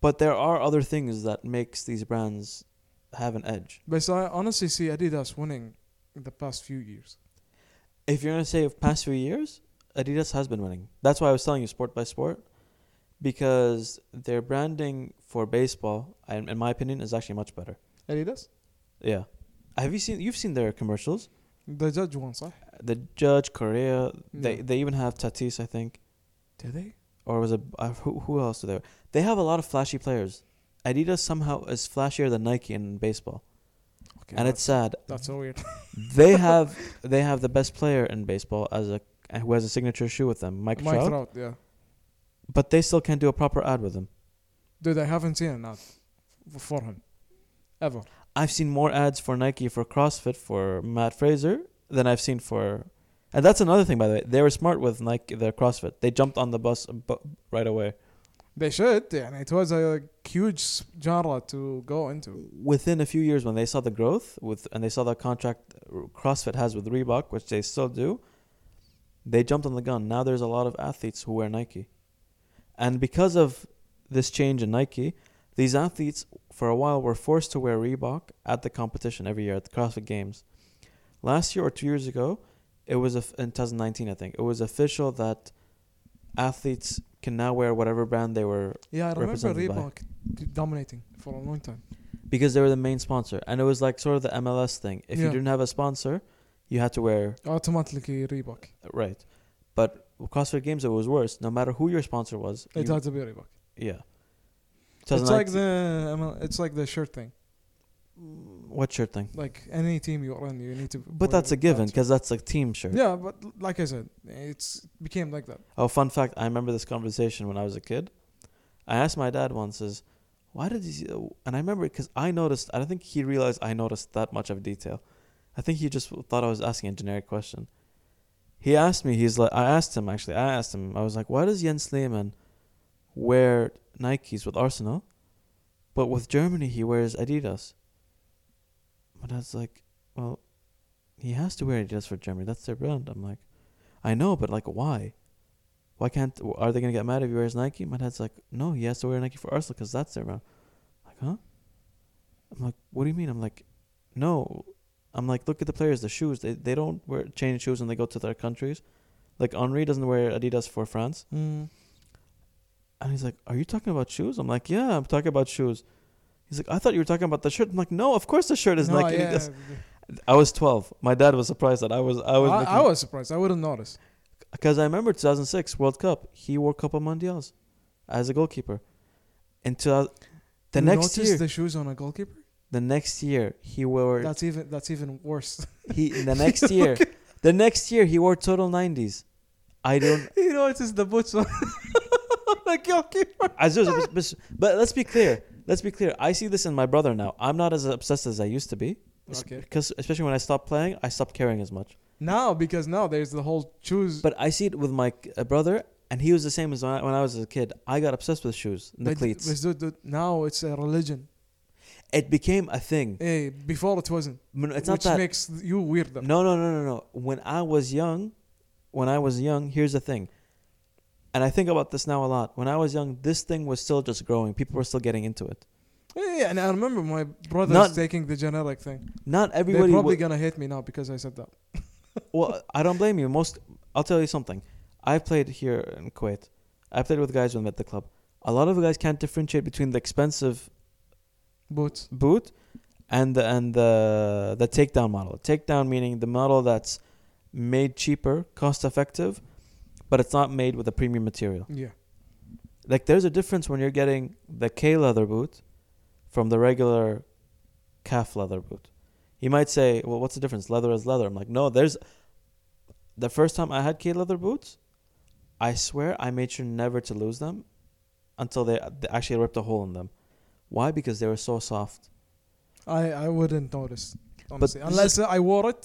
S1: But there are other things that makes these brands have an edge.
S2: But I honestly see Adidas winning in the past few years.
S1: if you're gonna say of past few years, Adidas has been winning. That's why I was telling you sport by sport, because their branding for baseball, in in my opinion, is actually much better.
S2: Adidas,
S1: Yeah, have you seen? You've seen their commercials.
S2: the judge won, صح?
S1: The Judge Korea. They
S2: Yeah.
S1: they even have Tatis, I think,
S2: Do they?
S1: or was it uh, who who else are there? They have a lot of flashy players. Adidas somehow is flashier than Nike in baseball,
S2: Okay,
S1: and
S2: that-
S1: it's sad.
S2: that's so weird.
S1: they have they have the best player in baseball as a who has a signature shoe with them, Mike,
S2: Mike
S1: Trout.
S2: Trout, yeah.
S1: but they still can't do a proper ad with him.
S2: Dude, I haven't seen an ad f- for him ever.
S1: I've seen more ads for Nike for CrossFit for Matt Fraser than I've seen for, and that's another thing by the way. They were smart with Nike their CrossFit. They jumped on the bus bu- right away.
S2: They should. And it was a huge genre to go into.
S1: Within a few years, when they saw the growth with and they saw the contract CrossFit has with Reebok, which they still do, they jumped on the gun. Now there's a lot of athletes who wear Nike, and because of this change in Nike, these athletes for a while were forced to wear Reebok at the competition every year at the CrossFit Games. Last year or two years ago, it was of- in 2019, I think. It was official that athletes can now wear whatever brand they were
S2: Yeah, I remember
S1: Represented by-
S2: Reebok dominating for a long time.
S1: because they were the main sponsor, and it was like sort of the MLS thing. If you
S2: Yeah.
S1: didn't have a sponsor, you had to wear
S2: Automatically Reebok.
S1: right. But with CrossFit Games, it was worse. No matter who your sponsor was,
S2: It
S1: you-
S2: had to be Reebok.
S1: yeah.
S2: It's like
S1: 2019
S2: the ML, it's like the shirt thing.
S1: what shirt thing?
S2: Like any team you're in, you need to. wear
S1: But that's a
S2: that
S1: given
S2: shirt.
S1: because that's a team shirt.
S2: Yeah, but l- like I said, it's it became like that.
S1: Oh, fun fact! I remember this conversation when I was a kid. I asked my dad once, "Is why did he?" uh," And I remember because I noticed. I don't think he realized I noticed that much of detail. I think he just thought I was asking a generic question. He asked me. He's like, I asked him actually. I asked him. I was like, "Why does Jens Lehmann wear Nikes with Arsenal, but with Germany he wears Adidas?" My dad's like, "Well, he has to wear Adidas for Germany. That's their brand." I'm like, "I know, but like, why?" why can't are they gonna get mad if he wears Nike? My dad's like, no, he has to wear Nike for Arsenal because that's their brand. like, huh? I'm like, what do you mean? I'm like, no. I'm like, look at the players, the shoes. They they don't wear change shoes when they go to their countries. Like Henri doesn't wear Adidas for France.
S2: Mm.
S1: And he's like, Are you talking about shoes? I'm like, Yeah, I'm talking about shoes. He's like, I thought you were talking about the shirt. I'm like, No, of course the shirt is Nike Adidas. I was twelve. My dad was surprised that I was I
S2: I,
S1: was
S2: I,
S1: looking-
S2: was surprised. I wouldn't notice.
S1: because I remember 2006 World Cup. He wore Copa Mundials as a goalkeeper. And two, the
S2: You
S1: next
S2: notice
S1: year,
S2: the shoes on a goalkeeper.
S1: the next year he wore
S2: That's even that's even worse.
S1: he the next year, the next year he wore total 90s. I don't.
S2: you notice the boots on the goalkeeper.
S1: As is- but- but, but let's be clear. Let's be clear. I see this in my brother now. I'm not as obsessed as I used to be.
S2: Okay.
S1: Because especially when I stopped playing, I stopped caring as much.
S2: Now because now there's the whole shoes.
S1: But I see it with my uh, brother, and he was the same as when I, when I was a kid. I got obsessed with shoes, and the
S2: But-
S1: cleats.
S2: but dude, dude, now it's a religion.
S1: It became a thing.
S2: Hey, before it wasn't.
S1: It's not
S2: which
S1: that
S2: makes you weirder.
S1: No, no, no, no, no. When I was young, when I was young, here's the thing. And I think about this now a lot. When I was young, this thing was still just growing. People were still getting into it.
S2: Yeah, yeah, and I remember my brother's
S1: Not-
S2: taking the generic thing.
S1: Not
S2: They're
S1: everybody.
S2: probably
S1: wa-
S2: gonna hate me now because I said that.
S1: well, I don't blame you. Most, I'll tell you something. I played here in Kuwait. I played with guys when I'm at the club. A lot of guys can't differentiate between the expensive
S2: Boots.
S1: boot and the and the the takedown model. Takedown meaning the model that's made cheaper, cost effective, but it's not made with a premium material.
S2: Yeah.
S1: like there's a difference when you're getting the K leather boot from the regular calf leather boot. You might say, "Well, what's the difference? Leather is leather." I'm like, "No, there's the first time I had K leather boots, I swear I made sure never to lose them until they, they actually ripped a hole in them. Why? Because they were so soft.
S2: I, I wouldn't notice. Honestly.
S1: this
S2: Unless I wore it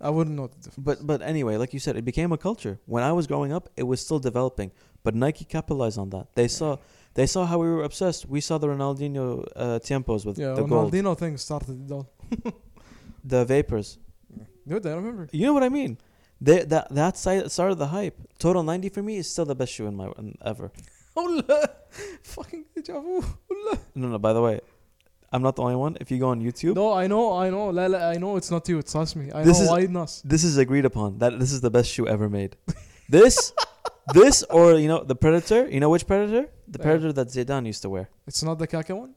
S2: I wouldn't know the difference.
S1: But but anyway, like you said, it became a culture. When I was growing up, it was still developing. But Nike capitalized on that. They saw they saw how we were obsessed. We saw the Ronaldinho uh, tiempos with
S2: yeah,
S1: the gold,
S2: Ronaldinho thing started it all.
S1: the vapors.
S2: Dude, I remember.
S1: You know what I mean? They, that that side started the hype. Total ninety for me is still the best shoe in my in, ever.
S2: Hola, fucking deja vu.
S1: No no. By the way, I'm not the only one. If you go on YouTube,
S2: No, I know, I know, la, la, I know. It's not you. It's us, me. I
S1: This
S2: know.
S1: is-
S2: Why us?
S1: this is agreed upon. That this is the best shoe ever made. This. This or you know the predator, you know which predator? The
S2: Yeah.
S1: predator that Zidane used to wear.
S2: It's not the Kaka one.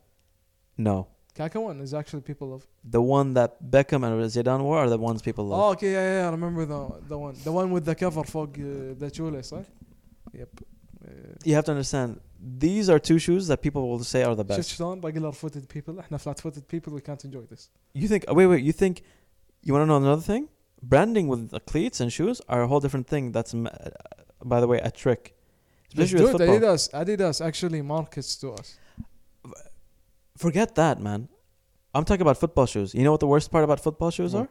S1: No,
S2: Kaka one is actually people love.
S1: the one that Beckham and Zidane wore are the ones people love.
S2: Oh, okay, yeah, yeah. I remember the the one, the one with the cover for uh, the shoelace, right? Yep. Uh,
S1: you have to understand these are two shoes that people will say are the
S2: شفت
S1: best.
S2: شلون regular footed people احنا flat footed people we can't enjoy this
S1: You think? oh, Wait, wait. You think? You want to know another thing? Branding with the cleats and shoes are a whole different thing. That's, m- uh, by the way, a trick. Especially with
S2: dude
S1: football.
S2: Adidas Adidas actually markets to us
S1: Forget that, man. I'm talking about football shoes. You know what the worst part about football shoes
S2: What?
S1: are?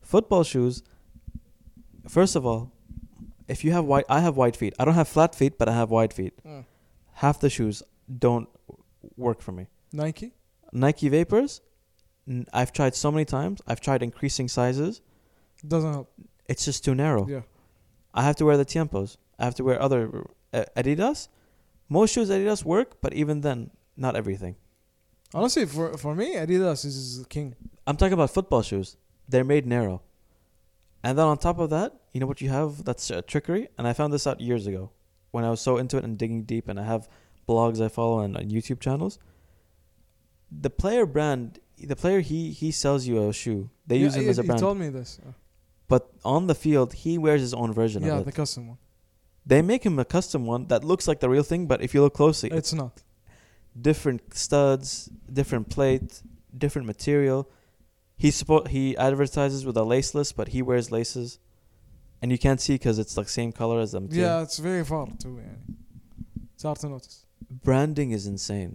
S1: Football shoes. First of all, if you have white, I have white feet. I don't have flat feet, but I have wide feet.
S2: Mm.
S1: Half the shoes don't work for me.
S2: Nike
S1: Nike Vapors, n- I've tried so many times. I've tried increasing sizes.
S2: doesn't help
S1: It's just too narrow.
S2: yeah
S1: I have to wear the Tiempos. I have to wear other uh, Adidas. Most shoes Adidas work, but even then, not everything.
S2: honestly for for me Adidas is king
S1: I'm talking about football shoes. They're made narrow. And then on top of that, you know what you have? That's uh, trickery. And I found this out years ago when I was so into it and digging deep. And I have blogs I follow and, and YouTube channels. The player brand, the player he he sells you a shoe. They
S2: Yeah,
S1: use him
S2: he,
S1: as a brand.
S2: he told me this Uh,
S1: But on the field, he wears his own version
S2: yeah
S1: of
S2: the
S1: it.
S2: custom one
S1: They make him a custom one that looks like the real thing, but if you look closely, it's
S2: it's not
S1: different studs, different plate, different material. He suppo- he advertises with a laceless, but he wears laces, and you can't see because it's like same color as the material.
S2: yeah it's very far too يعني. it's hard to notice
S1: Branding is insane.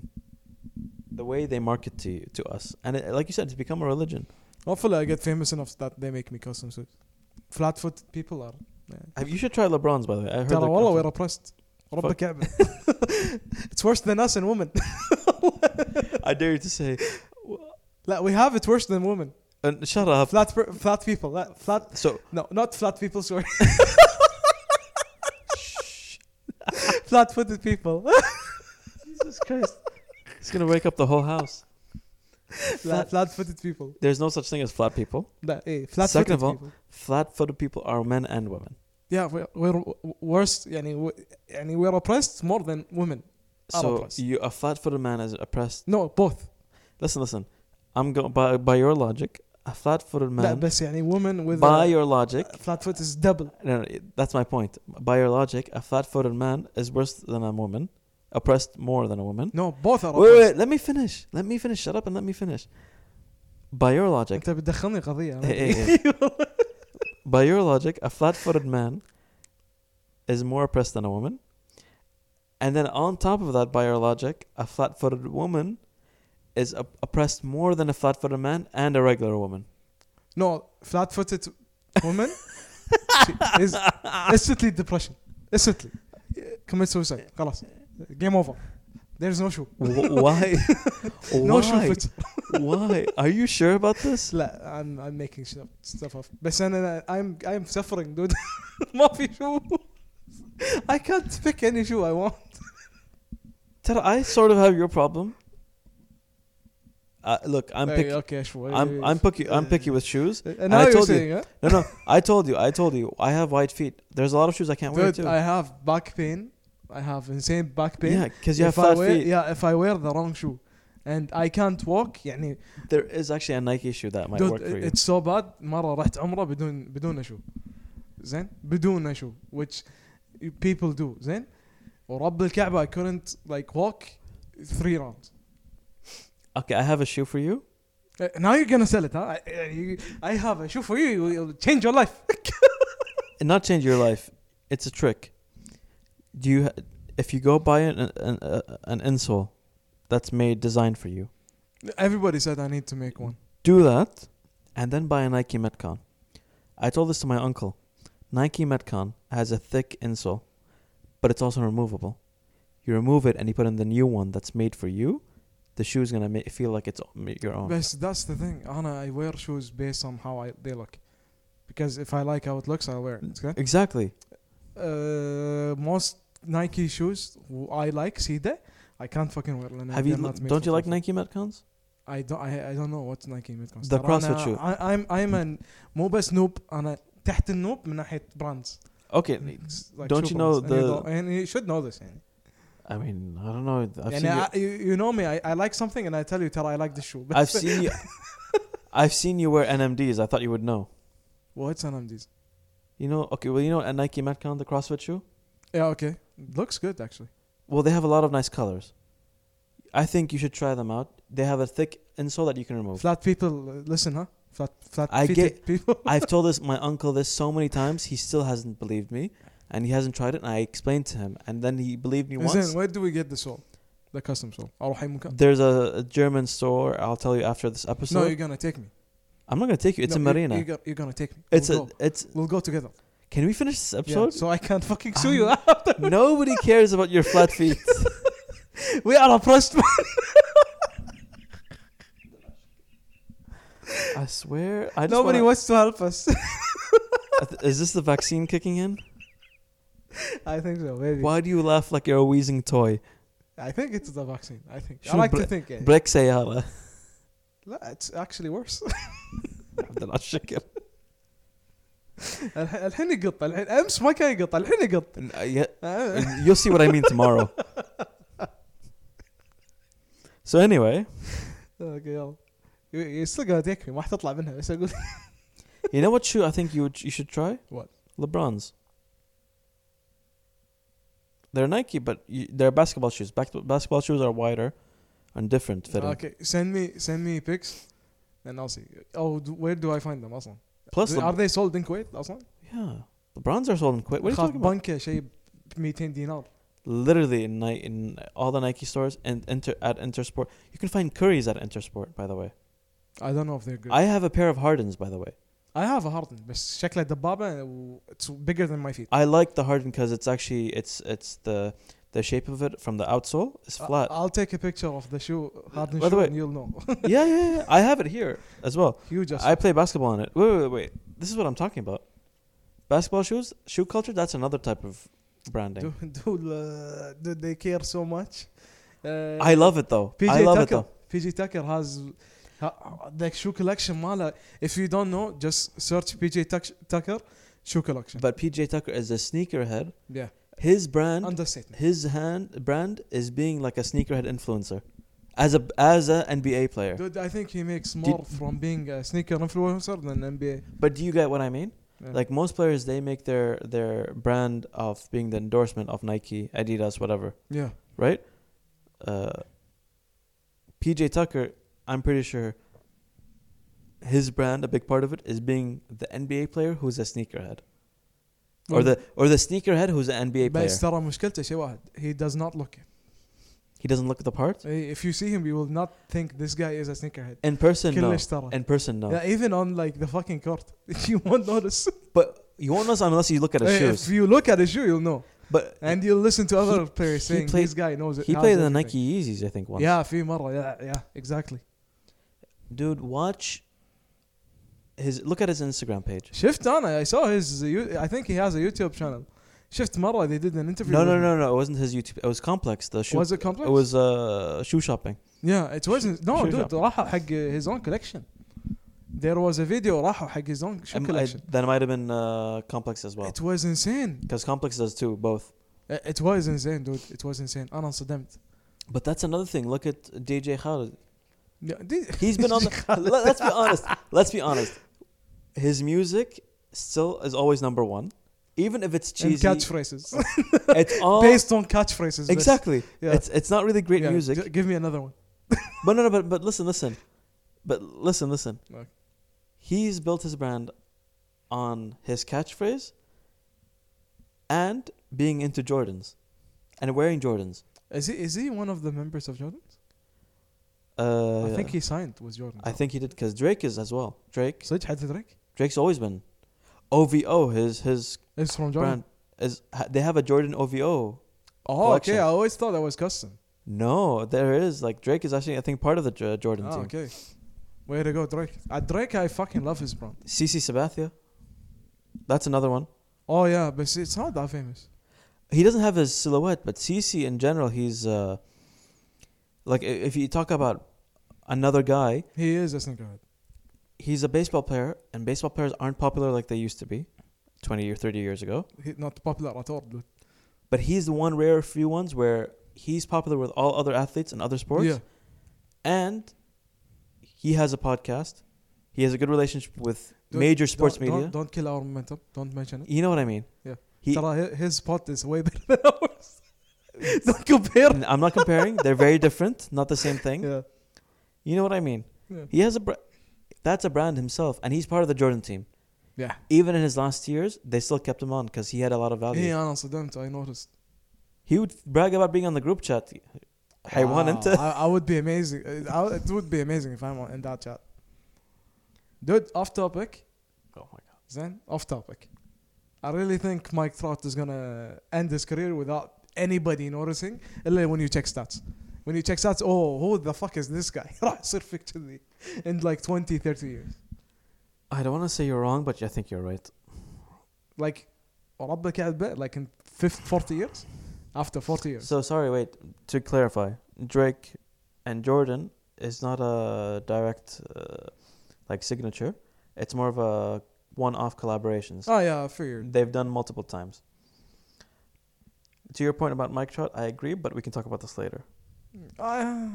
S1: The way they market to you, to us, and it, like you said, it's become a religion.
S2: hopefully I get famous enough that they make me custom suits flat footed people are yeah.
S1: Have- You should try LeBron's, by the way. I heard.
S2: ترى
S1: they're
S2: والله
S1: custom.
S2: we're oppressed رب
S1: Fuck.
S2: الكعبة it's worse than us and women
S1: I dare you to say,
S2: لا we have it worse than women
S1: uh, shut up.
S2: flat per- flat people لا, flat
S1: So
S2: no not flat people sorry flat footed people
S1: Jesus Christ. It's gonna wake up the whole house.
S2: لا flat footed people
S1: There's no such thing as flat people.
S2: لا ايه flat
S1: Second
S2: footed
S1: of all-
S2: people
S1: Flat footed people are men and women.
S2: yeah we're, we're w- worse يعني w- يعني we're oppressed more than women Are
S1: So
S2: oppressed.
S1: you a flat footed man is oppressed.
S2: no both
S1: Listen, listen. I'm going by by your logic, a flat footed
S2: لا
S1: man
S2: بس يعني women with uh,
S1: by
S2: a-
S1: your logic
S2: flat foot is double
S1: no, no, it- that's my point. By your logic, a flat footed man is worse than a woman, oppressed more than a woman.
S2: no both are
S1: Wait, wait,
S2: oppressed
S1: wait, let me finish. Let me finish. Shut up and let me finish. By your logic,
S2: انت بتدخلني قضية
S1: Eh, eh, eh. By your logic, a flat footed man is more oppressed than a woman. And then on top of that, by your logic, a flat footed woman is op- oppressed more than a flat footed man and a regular woman.
S2: no flat footed woman she is instantly depression instantly commit suicide خلاص game over there's no shoe
S1: Wh- why?
S2: no shoe
S1: why?
S2: fits
S1: why? Are you sure about this?
S2: لا I'm I'm making stuff stuff up بس انا I'm I'm suffering dude ما في شو I can't pick any shoe I want
S1: Ted, I sort of have your problem. Uh, look, I'm
S2: Hey,
S1: picky.
S2: okay شوي
S1: I'm I'm picky. I'm picky with shoes.
S2: and
S1: I
S2: now you're
S1: told you,
S2: saying huh?
S1: No, no. I told you. I told you. I have white feet. There's a lot of shoes I can't wear
S2: dude
S1: too.
S2: I have back pain I have insane back pain
S1: Yeah, because you have
S2: if I
S1: flat
S2: wear,
S1: feet.
S2: Yeah, if I wear the wrong shoe and I can't walk يعني
S1: There is actually a Nike shoe that might
S2: dude,
S1: work for you.
S2: it's so bad مرة رحت عمرة بدون بدون شو زين بدون شو which people do زين ورب الكعبة I couldn't like walk three rounds
S1: Okay, I have a shoe for you.
S2: Uh, now you're gonna sell it huh I, يعني I have a shoe for you you'll change your life
S1: And not change your life. It's a trick. Do you? ha- If you go buy an an, uh, an insole that's made designed for you,
S2: everybody said I need to make one
S1: do that, and then buy a Nike Metcon. I told this to my uncle. Nike Metcon has a thick insole, but it's also removable. You remove it and you put in the new one that's made for you. The shoe's gonna ma- feel like it's o- ma- your own.
S2: But that's the thing. Anna, I wear shoes based on how I, they look. Because if I like how it looks, I'll wear it. Okay?
S1: Exactly.
S2: Uh, most Nike shoes who I like, see that? I can't fucking wear them.
S1: Have you? l- Don't you like Nike Metcons?
S2: I don't I, I don't know what Nike ميد
S1: The CrossFit shoe.
S2: uh, I, I'm I'm an مو بس نوب انا تحت النوب من ناحية brands.
S1: Okay.
S2: Like
S1: Don't
S2: shoe
S1: you know
S2: brands. And you
S1: the-
S2: go- and you should know this يعني.
S1: I mean, I don't know. I've
S2: يعني
S1: seen.
S2: I, you, you know me I, I like something and I tell you tell I like this shoe.
S1: you, I've seen. You, I've seen you wear NMDs. I thought you would know.
S2: What's an MDs?
S1: You know. Okay. Well, you know a Nike Metcon, the CrossFit shoe.
S2: Yeah, okay. Looks good actually.
S1: Well, they have a lot of nice colors. I think you should try them out. They have a thick insole that you can remove.
S2: Flat people uh, listen, huh? Flat flat
S1: Oh. I
S2: feeted
S1: get-
S2: people.
S1: I've told this my uncle this so many times. He still hasn't believed me, and he hasn't tried it. And I explained to him, and then he believed me
S2: Listen,
S1: once.
S2: where do we get the sole? The custom sole. اروح اي مكان.
S1: There's a, a German store. I'll tell you after this
S2: No,
S1: episode.
S2: you're gonna take me.
S1: I'm not gonna take you. It's
S2: no,
S1: a
S2: you-
S1: marina.
S2: You, you're gonna take me.
S1: it's
S2: we'll
S1: a.
S2: Go.
S1: It's.
S2: We'll go together.
S1: Can we finish this
S2: Yeah,
S1: episode?
S2: so I can't fucking sue you.
S1: Nobody cares about your flat feet.
S2: we are oppressed.
S1: I swear. I just
S2: Nobody
S1: wanna-
S2: wants to help us.
S1: Is this the vaccine kicking in?
S2: I think so, maybe.
S1: Why do you laugh like you're a wheezing toy?
S2: I think it's the vaccine. I think. I
S1: Sure,
S2: like to
S1: bre-
S2: think. Yeah.
S1: Break "Ah, سيارة.
S2: لا, it's actually worse.
S1: عبد الله شكر.
S2: الح- الحين يقط الحين امس ما كان يقط الحين يقط.
S1: And, uh, yeah,
S2: آه.
S1: and You'll see what I mean tomorrow. So anyway,
S2: اوكي يلا. You- You're still gonna take me ما حتطلع منها بس اقول
S1: you know what shoe I think you would, you should try?
S2: What?
S1: LeBron's. They're Nike, but you, they're basketball shoes. Back, basketball shoes are wider and different fitting.
S2: Okay, send me send me pics and I'll see. Oh, d- where do I find them اصلا؟
S1: Plus,
S2: Do- are
S1: Le-
S2: they sold in Kuwait اصلا؟
S1: yeah, LeBron's are sold in Kuwait. What are you
S2: خاف
S1: talking about?
S2: بنكه شيء ب 200 دينار.
S1: literally in night in all the Nike stores and inter at Intersport. You can find Curry's at Intersport, by the way.
S2: I don't know if they're good.
S1: I have a pair of Hardens, by the way.
S2: I have a harden بس شكله دبابه و it's bigger than my feet.
S1: I like the Harden because it's actually it's it's the the shape of it from the outsole is flat.
S2: I- I'll take a picture of the shoe harden
S1: By the
S2: shoe
S1: way-
S2: and you'll know.
S1: yeah, yeah, yeah. I have it here as well.
S2: you just
S1: I play basketball on it. Wait, wait, wait, wait. This is what I'm talking about. Basketball shoes, shoe culture. That's another type of branding.
S2: do, do, uh, do they care so much? Uh,
S1: I love it though. I love it
S2: Tucker.
S1: though.
S2: PJ Tucker has ha- the shoe collection ماله. If you don't know, just search PJ Tuck- Tucker shoe collection.
S1: But PJ Tucker is a sneakerhead.
S2: yeah,
S1: His brand
S2: understatement.
S1: his hand brand is being like a sneakerhead influencer as a as a NBA player.
S2: Dude, I think he makes more from being a sneaker influencer than NBA.
S1: But do you get what I mean?
S2: Yeah.
S1: Like most players they make their their brand of being the endorsement of Nike, Adidas, whatever,
S2: Yeah,
S1: right? Uh PJ Tucker, I'm pretty sure his brand, a big part of it, is being the NBA player who's a sneakerhead, or
S2: Mm.
S1: the or the sneakerhead who's an NBA player.
S2: بس ترى مشكلته شيء واحد. He does not look it.
S1: He doesn't look the part
S2: If you see him, you will not think this guy is a sneakerhead.
S1: in person. No,
S2: كلش ترى.
S1: in person, no.
S2: Yeah, even on like the fucking court, you won't notice.
S1: But you won't know unless you look at his
S2: Hey,
S1: shoes.
S2: If you look at his shoe, you'll know,
S1: But
S2: and you'll listen to other players
S1: he
S2: saying
S1: played-
S2: this guy knows it.
S1: he
S2: has
S1: played the
S2: everything."
S1: Nike Yeezys, I think, once.
S2: Yeah, في مرة. Yeah, yeah, exactly.
S1: Dude, watch his look at his Instagram page.
S2: شفت أنا I saw his you- I think he has a YouTube channel. شفت مرة they did an interview.
S1: No,
S2: with
S1: no,
S2: him.
S1: no, no. It wasn't his YouTube. It was Complex. The shoe.
S2: Was it complex?
S1: It was uh shoe shopping.
S2: Yeah, it wasn't. No,
S1: Shoe
S2: dude,
S1: shop.
S2: راحوا حق his own collection. There was a video راحوا حق his own shoe
S1: Um, I-
S2: collection.
S1: that might have been uh Complex as well,
S2: It was insane. Uh,
S1: because Complex does too, both.
S2: It was insane, dude. It was insane. أنا انصدمت.
S1: But that's another thing. Look at DJ Khaled.
S2: Yeah, did-
S1: He's been on. The, let- let's be honest. Let's be honest. His music still is always number one, even if it's
S2: and
S1: cheesy.
S2: catchphrases.
S1: It's all
S2: Based on catchphrases. بس.
S1: exactly.
S2: Yeah.
S1: It's it's not really great
S2: Yeah,
S1: music.
S2: g- Give me another one.
S1: But no, no, but but listen, listen, but listen, listen.
S2: Okay.
S1: He's built his brand on his catchphrase and being into Jordans and wearing Jordans.
S2: Is he is he one of the members of Jordan?
S1: Uh,
S2: I think he signed with Jordan.
S1: I think he did because Drake is as well. Drake,
S2: صدق حتى دريك؟
S1: Drake's always been. OVO, his his
S2: It's from
S1: brand
S2: Jordan.
S1: is ha- they have a Jordan OVO.
S2: Oh,
S1: collection.
S2: okay. I always thought that was custom.
S1: No, there is like Drake is actually I think part of the J- Jordan
S2: Oh,
S1: team.
S2: okay. Way to go, Drake. Uh, Drake, I fucking love his brand.
S1: CC Sabathia, that's another one.
S2: Oh yeah, but see, it's not that famous.
S1: He doesn't have his silhouette, but CC in general, he's uh, like i- if you talk about another guy,
S2: He is a sneakerhead.
S1: he's a baseball player, and baseball players aren't popular like they used to be, twenty or thirty years ago.
S2: He not popular at all. Dude.
S1: But he's the one rare few ones where he's popular with all other athletes and other sports.
S2: Yeah.
S1: And he has a podcast. He has a good relationship with
S2: Don't-
S1: major sports
S2: don't,
S1: media.
S2: Don't, don't kill our momentum. Don't mention it.
S1: You know what I mean?
S2: Yeah.
S1: He,
S2: Tara, hi- his spot is way better than ours. don't compare.
S1: I'm not comparing. They're very different, not the same thing.
S2: Yeah.
S1: You know what I mean?
S2: Yeah.
S1: He has a br- that's a brand himself, and he's part of the Jordan team.
S2: Yeah.
S1: Even in his last years, they still kept him on because he had a lot of value.
S2: Yeah, honestly, don't. I noticed.
S1: He would brag about being on the group chat. Hey,
S2: Wow,
S1: one into
S2: I, I would be amazing. Uh, I, would- it would be amazing if I'm on- in that chat. Dude, off topic.
S1: Oh my god.
S2: Zen, off topic. I really think Mike Trout is gonna end his career without anybody noticing, إلا when you check stats. When you check stats, oh, who the fuck is this guy? راح يصير فيك كذي in like 20, 30 years.
S1: I don't want to say you're wrong, but I think you're right.
S2: Like, ربك قاعد بقى, like in 50, 40 years? After 40 years.
S1: So sorry, wait. To clarify, Drake and Jordan is not a direct uh, like signature. It's more of a one-off collaborations.
S2: Oh yeah, I figured.
S1: They've done multiple times. To your point about Mike Trout, I agree, but we can talk about this later.
S2: Ah.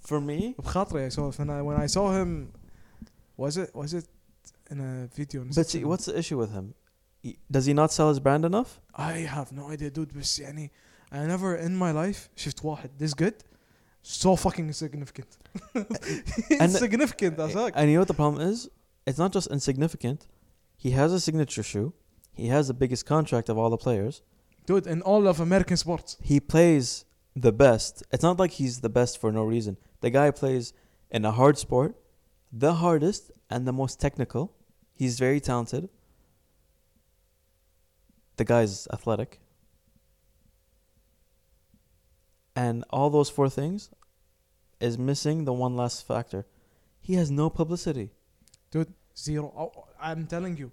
S1: For me,
S2: بخاطري I saw when I, when I saw him was it was it in a video in
S1: but see,
S2: Instagram?
S1: what's the issue with him? He- Does he not sell his brand enough?
S2: I have no idea dude بس يعني I never in my life شفت واحد this good so fucking significant insignificant as heck
S1: And you know what the problem is? It's not just insignificant. He has a signature shoe. He has the biggest contract of all the players.
S2: dude in all of American sports
S1: he plays the best. It's not like he's the best for no reason. The guy plays in a hard sport, the hardest and the most technical. He's very talented. The guy's athletic. And all those four things is missing the one last factor. He has no publicity.
S2: zero Oh, I'm telling you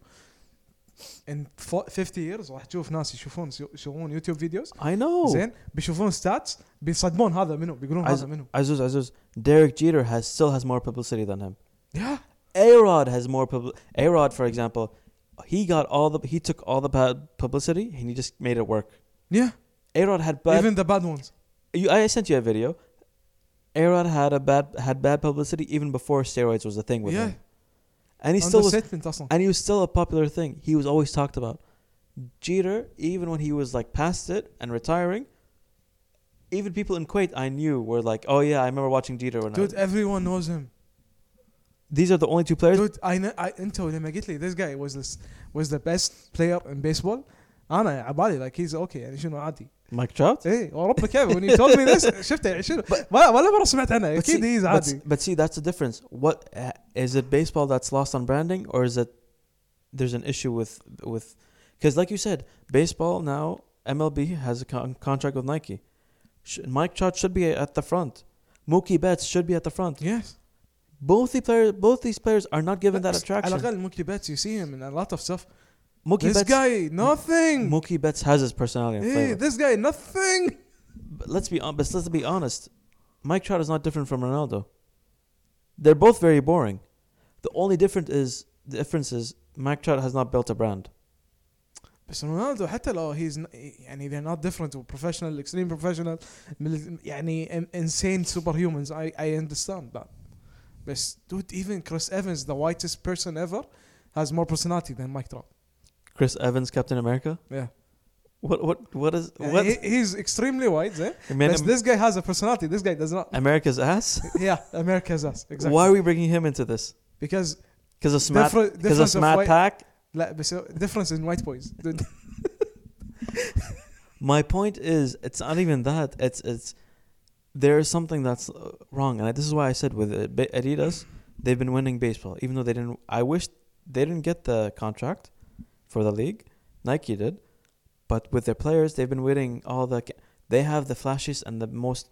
S2: in fo- 50 years راح تشوف ناس يشوفون يشوفون يوتيوب فيديوز
S1: I know.
S2: زين بيشوفون ستاتس بيصدمون هذا منو بيقولون
S1: عز-
S2: هذا منو
S1: Azuz, Azuz, Derek Jeter has still has more publicity than him.
S2: yeah
S1: A Rod has more public. A Rod, for example, he got all the he took all the bad publicity and he just made it work.
S2: yeah
S1: A Rod had bad.
S2: even the bad ones
S1: you, I sent you a video. A Rod had a bad had bad publicity even before steroids was a thing with
S2: Yeah.
S1: him, and he still was
S2: understatement اصلا
S1: and he was still a popular thing. He was always talked about. Jeter, even when he was like past it and retiring, even people in Kuwait I knew were like, "Oh yeah, I remember watching Jeter." When I-
S2: dude everyone knows him
S1: these are the only two players.
S2: dude I, kn- I انت لما قلت لي this guy was this was the best player in baseball انا عبالي like he's okay يعني شنو عادي
S1: Mike Trout.
S2: اي ورب كيف when you told me this شفته يعني شنو ولا ولا مره سمعت عنه
S1: But
S2: اكيد
S1: see-
S2: he's
S1: but s-
S2: عادي
S1: But, see, that's the difference. What uh, is it? Baseball that's lost on branding, or is it there's an issue with with because, like you said, baseball now MLB has a con- contract with Nike. Sh- Mike Trout should be at the front. Mookie Betts should be at the front.
S2: yes
S1: Both the players, both these players are not given that
S2: بس على
S1: attraction.
S2: الاقل موكي باتس you see him in a lot of stuff
S1: Mookie
S2: this
S1: Betts,
S2: guy nothing
S1: Mookie Betts has his personality and
S2: hey
S1: flavor.
S2: this guy nothing
S1: But let's be hon- but let's be honest. Mike Trout is not different from Ronaldo. They're both very boring. The only difference is the difference is Mike Trout has not built a brand.
S2: بس رونالدو حتى لو he's n- يعني they're not different professional extreme professional مل- يعني in- insane superhumans I I understand that بس dude even Chris Evans the whitest person ever has more personality than Mike Trout
S1: Chris Evans, Captain America.
S2: yeah
S1: What what what is what?
S2: what? He, he's extremely white eh?
S1: I mean,
S2: بس this guy has a personality this guy does not
S1: America's ass.
S2: yeah America's us exactly
S1: Why are we bringing him into this?
S2: because
S1: Because of smart
S2: different
S1: because of
S2: difference of
S1: smart
S2: white
S1: pack.
S2: لا بس difference in white boys dude
S1: My point is, it's not even that. It's it's there is something that's uh, wrong, and this is why I said with uh, Ba- Adidas, they've been winning baseball, even though they didn't. I wish they didn't get the contract. for the league. Nike did, but with their players, they've been waiting all the. Ca- they have the flashiest and the most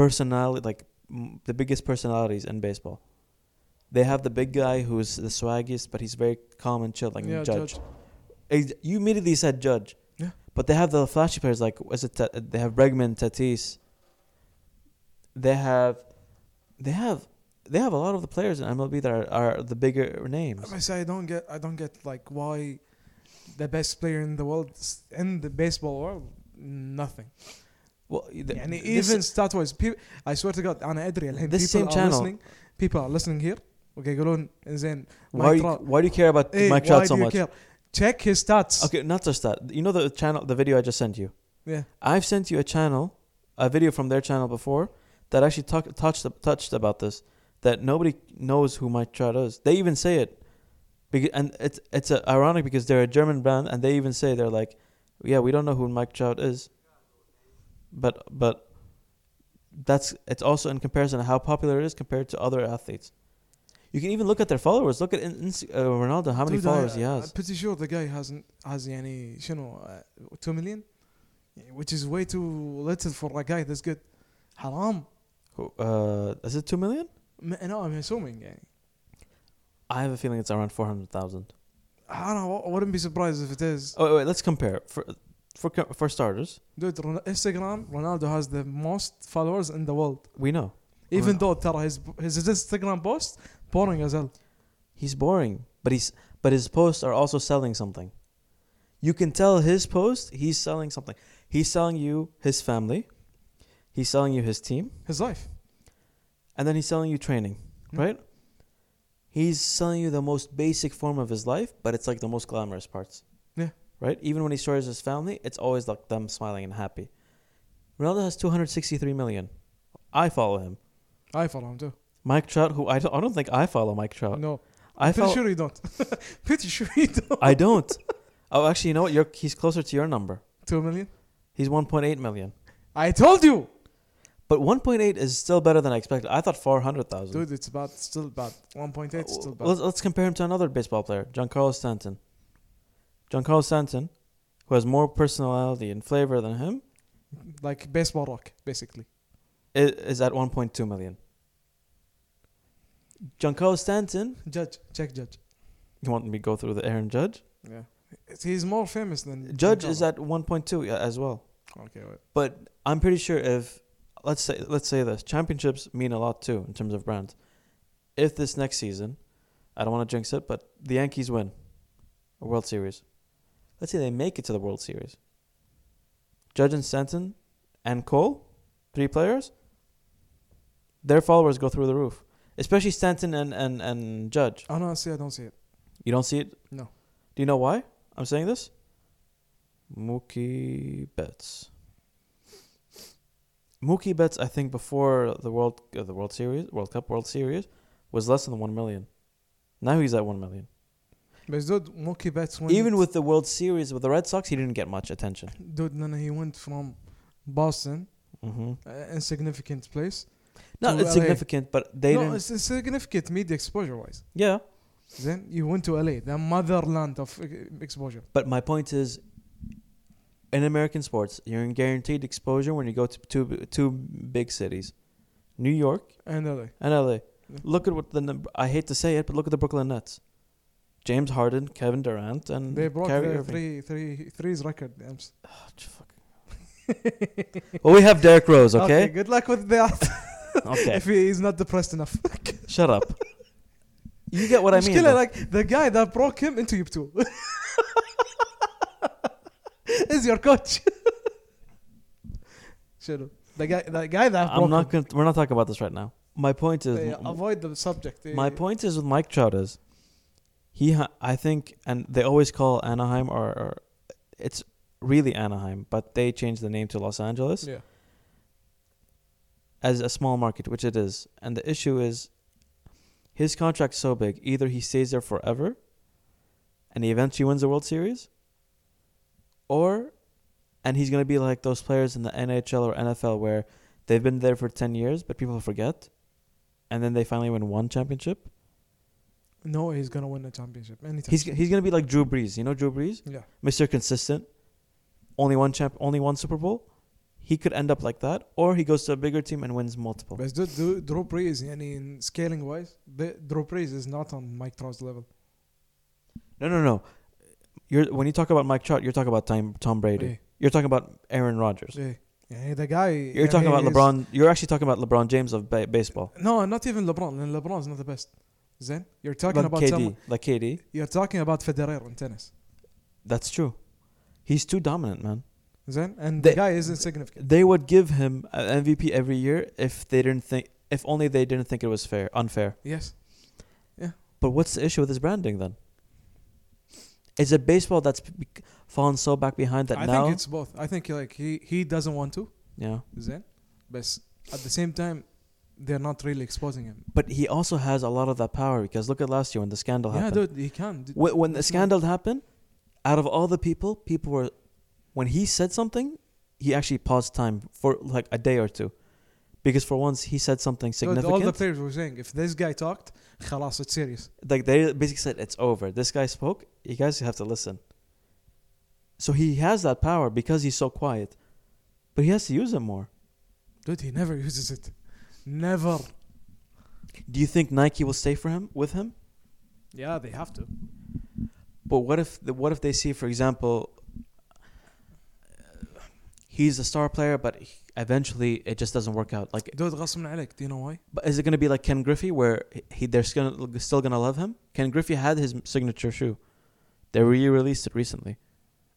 S1: personality, like m- the biggest personalities in baseball. They have the big guy who's the swaggiest, but he's very calm and chill, like
S2: Yeah,
S1: Judge.
S2: Judge.
S1: Ex- You immediately said Judge.
S2: Yeah.
S1: But they have the flashy players like was it Ta- they have Bregman, Tatis. They have, they have, they have a lot of the players in MLB that are, are the bigger names.
S2: I say I don't get I don't get like why the best player in the world s- in the baseball world nothing.
S1: Well, the-
S2: And
S1: this-
S2: even stat wise, people, I swear to God, أنا أدري الحين
S1: This
S2: people
S1: same
S2: are
S1: channel.
S2: listening. People are listening here. Okay, يقولون زين
S1: why do,
S2: Mike
S1: you,
S2: Trout.
S1: why do you care about
S2: Hey,
S1: Mike
S2: why
S1: Trout
S2: do
S1: so
S2: you
S1: much?
S2: care? Check his stats.
S1: Okay, not just that. You know the channel, the video I just sent you.
S2: Yeah.
S1: I've sent you a channel, a video from their channel before that actually talk, touched touched about this. That nobody knows who Mike Trout is. They even say it, because, and it's it's uh, ironic because they're a German brand and they even say they're like, yeah, we don't know who Mike Trout is. But but that's it's also in comparison to how popular it is compared to other athletes. You can even look at their followers. Look at in, in, uh, Ronaldo, how many
S2: Dude, I-
S1: followers he
S2: I'm
S1: has.
S2: pretty sure the guy hasn't has يعني شنو uh, 2 million which is way too little for a guy this good. حرام.
S1: Who- Uh, is it two million?
S2: M- No, I'm assuming يعني.
S1: I have a feeling it's around 400,000.
S2: I don't know, I wouldn't be surprised if it is.
S1: Oh, wait, wait, let's compare. For, for, co- for starters,
S2: Dude, Ron- Instagram, Ronaldo has the most followers in the world.
S1: we know.
S2: Even
S1: Ronaldo.
S2: though ترى his his Instagram post boring as hell.
S1: He's boring, but he's but his posts are also selling something. You can tell his post, he's selling something. He's selling you his family. He's selling you his team,
S2: His life.
S1: and then he's selling you training,
S2: Hmm.
S1: right? He's selling you the most basic form of his life, but it's like the most glamorous parts.
S2: Yeah.
S1: Right? Even when he shows his family, it's always like them smiling and happy. Ronaldo has 263 million. I follow him.
S2: I follow him too.
S1: Mike Trout, who I don't, I don't think I follow Mike Trout.
S2: No,
S1: Uh, I
S2: pretty
S1: follow,
S2: sure you don't. pretty sure you don't.
S1: I don't. Oh, actually, you know what? You're, he's closer to your number.
S2: Two million.
S1: He's 1.8 million.
S2: I told you,
S1: But 1.8 is still better than I expected. I thought 400,000.
S2: dude. It's about still bad. One point
S1: Uh,
S2: eight, still bad.
S1: Let's, let's compare him to another baseball player, Giancarlo Stanton. Giancarlo Stanton, who has more personality and flavor than him,
S2: like baseball rock, basically.
S1: i- is at 1.2 million. Giancarlo Stanton,
S2: Judge, check Judge.
S1: you want me to go through the Aaron Judge?
S2: Yeah, he's more famous than
S1: Judge is
S2: Giancarlo.
S1: at 1.2 as well.
S2: okay. Wait.
S1: But I'm pretty sure if let's say let's say this championships mean a lot too in terms of brands. If this next season, I don't want to jinx it, but the Yankees win a World Series. Let's say they make it to the World Series. Judge and Stanton and Cole, three players, their followers go through the roof. Especially Stanton and, and, and Judge.
S2: I don't Oh, see. I don't see it.
S1: You don't see it?
S2: No.
S1: Do you know why I'm saying this? Mookie Betts. Mookie Betts, I think, before the World uh, the World Series, World Cup, World Series, was less than one million. Now he's at one million.
S2: But dude, Mookie Betts went.
S1: Even with the World Series with the Red Sox, he didn't get much attention.
S2: dude, no, no, he went from Boston,
S1: Mm-hmm.
S2: uh, insignificant place.
S1: Not
S2: To
S1: it's
S2: LA.
S1: significant, but they
S2: no,
S1: didn't.
S2: it's insignificant media exposure wise.
S1: Yeah,
S2: Then you went to LA, the motherland of uh, exposure.
S1: but my point is, in American sports, you're in guaranteed exposure when you go to two two big cities, New York
S2: And LA.
S1: and LA.
S2: Yeah.
S1: Look at what the number. I hate to say it, but look at the Brooklyn Nets. James Harden, Kevin Durant, and
S2: Mm-hmm. They broke
S1: Kyrie
S2: their
S1: Irving.
S2: three, three, threes record. Amps.
S1: Oh, j- fuck. well, we have Derrick Rose. Okay.
S2: Good luck with that.
S1: Okay.
S2: if he is not depressed enough.
S1: Shut up. You get what I mean.
S2: مشكلة
S1: though.
S2: like the guy that broke him into جبتوه. is your coach. شنو؟ The guy the guy that broke
S1: I'm not.
S2: him.
S1: Gonna, we're not talking about this right now. My point is.
S2: Yeah, avoid the subject.
S1: my
S2: Yeah.
S1: point is with Mike Trout is, he. Ha- I think, and they always call Anaheim or, or, it's really Anaheim, but they changed the name to Los Angeles.
S2: Yeah.
S1: as a small market, which it is. And the issue is his contract's so big, either he stays there forever and he eventually wins the World Series, or and he's gonna be like those players in the NHL or NFL where they've been there for ten years but people forget and then they finally win one championship.
S2: No, he's gonna win the championship anytime.
S1: He's he's gonna be like Drew Brees. You know Drew Brees,
S2: yeah,
S1: Mister Consistent. Only one champ, only one Super Bowl. He could end up like that, or he goes to a bigger team and wins multiple.
S2: but dude, Drew- Drew Brees, يعني in scaling wise, the- Drew Brees is not on Mike Trout's level.
S1: No, no, no. You're when you talk about Mike Trout, you're talking about Tom, Tom Brady.
S2: Yeah,
S1: You're talking about Aaron Rodgers.
S2: yeah. يعني the guy.
S1: You're talking about
S2: he's-
S1: LeBron. You're actually talking about LeBron James of ba- baseball.
S2: No, not even LeBron. Then LeBron's not the best. Then you're talking
S1: like
S2: about
S1: KD,
S2: someone.
S1: like KD.
S2: You're talking about Federer in tennis.
S1: That's true. He's too dominant, man.
S2: Then and
S1: They-
S2: the guy is insignificant.
S1: They would give him an MVP every year if they didn't think, if only they didn't think it was fair, unfair.
S2: Yes.
S1: But what's the issue with his branding then? Is it baseball that's be- fallen so back behind that
S2: I
S1: now?
S2: think it's both. I think like he he doesn't want to.
S1: yeah,
S2: Then, but at the same time, they're not really exposing him.
S1: but he also has a lot of that power because look at last year when the scandal
S2: yeah,
S1: happened.
S2: dude, he can. D-
S1: when, when the
S2: That's not-
S1: scandal happened, out of all the people, people were, when he said something, he actually paused time for like a day or two, because for once he said something
S2: Dude, all
S1: significant.
S2: the players were saying if this guy talked, خلاص, it's serious.
S1: like they basically said, "It's over." This guy spoke. You guys have to listen. So he has that power because he's so quiet, but he has to use it more.
S2: Dude, he never uses it. Never.
S1: Do you think Nike will stay for him with him?
S2: Yeah, they have to.
S1: But what if the, what if they see, for example, he's a star player, but he- eventually it just doesn't work out. Like
S2: Dude, غصب عليك. Do you know why?
S1: But is it going to be like Ken Griffey, where he they're still, still going to love him? Ken Griffey had his signature shoe. They re-released it recently.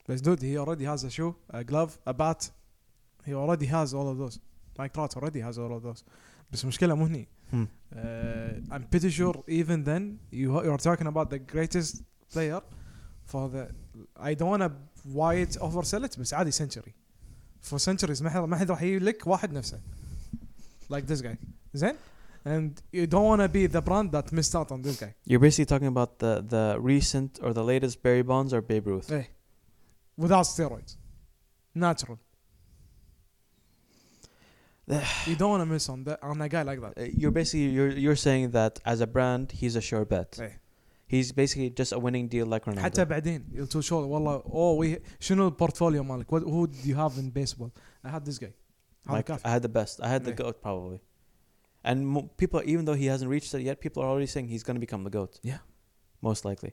S2: But dude, he already has a shoe, a glove, a bat. He already has all of those. Mike Trout already has all of those. بس المشكلة مو هني.
S1: Hmm.
S2: Uh, I'm pretty sure even then you you're talking about the greatest player for the I don't wanna wide oversell it بس عادي century. For centuries ما حد ما حد راح يجيب لك واحد نفسه. Like this guy. زين؟ And you don't wanna be the brand that missed out on this guy.
S1: You're basically talking about the, the recent or the latest Barry Bonds or Babe Ruth.
S2: Eh. Without steroids. Natural. you don't want to miss on that on a guy like that.
S1: Uh, You're basically you're you're saying that as a brand, he's a sure bet.
S2: Eh.
S1: He's basically just a winning deal like Ronaldo.
S2: حتى بعدين you'll too sure والله oh we شنو البورتفوليو مالك؟ What, who do you have in baseball? I had this guy. هذا
S1: Mike-
S2: كافي.
S1: I had the best. I had the
S2: Eh.
S1: goat probably. And mo- people, even though he hasn't reached it yet, people are already saying he's going to become the goat.
S2: Yeah.
S1: most likely.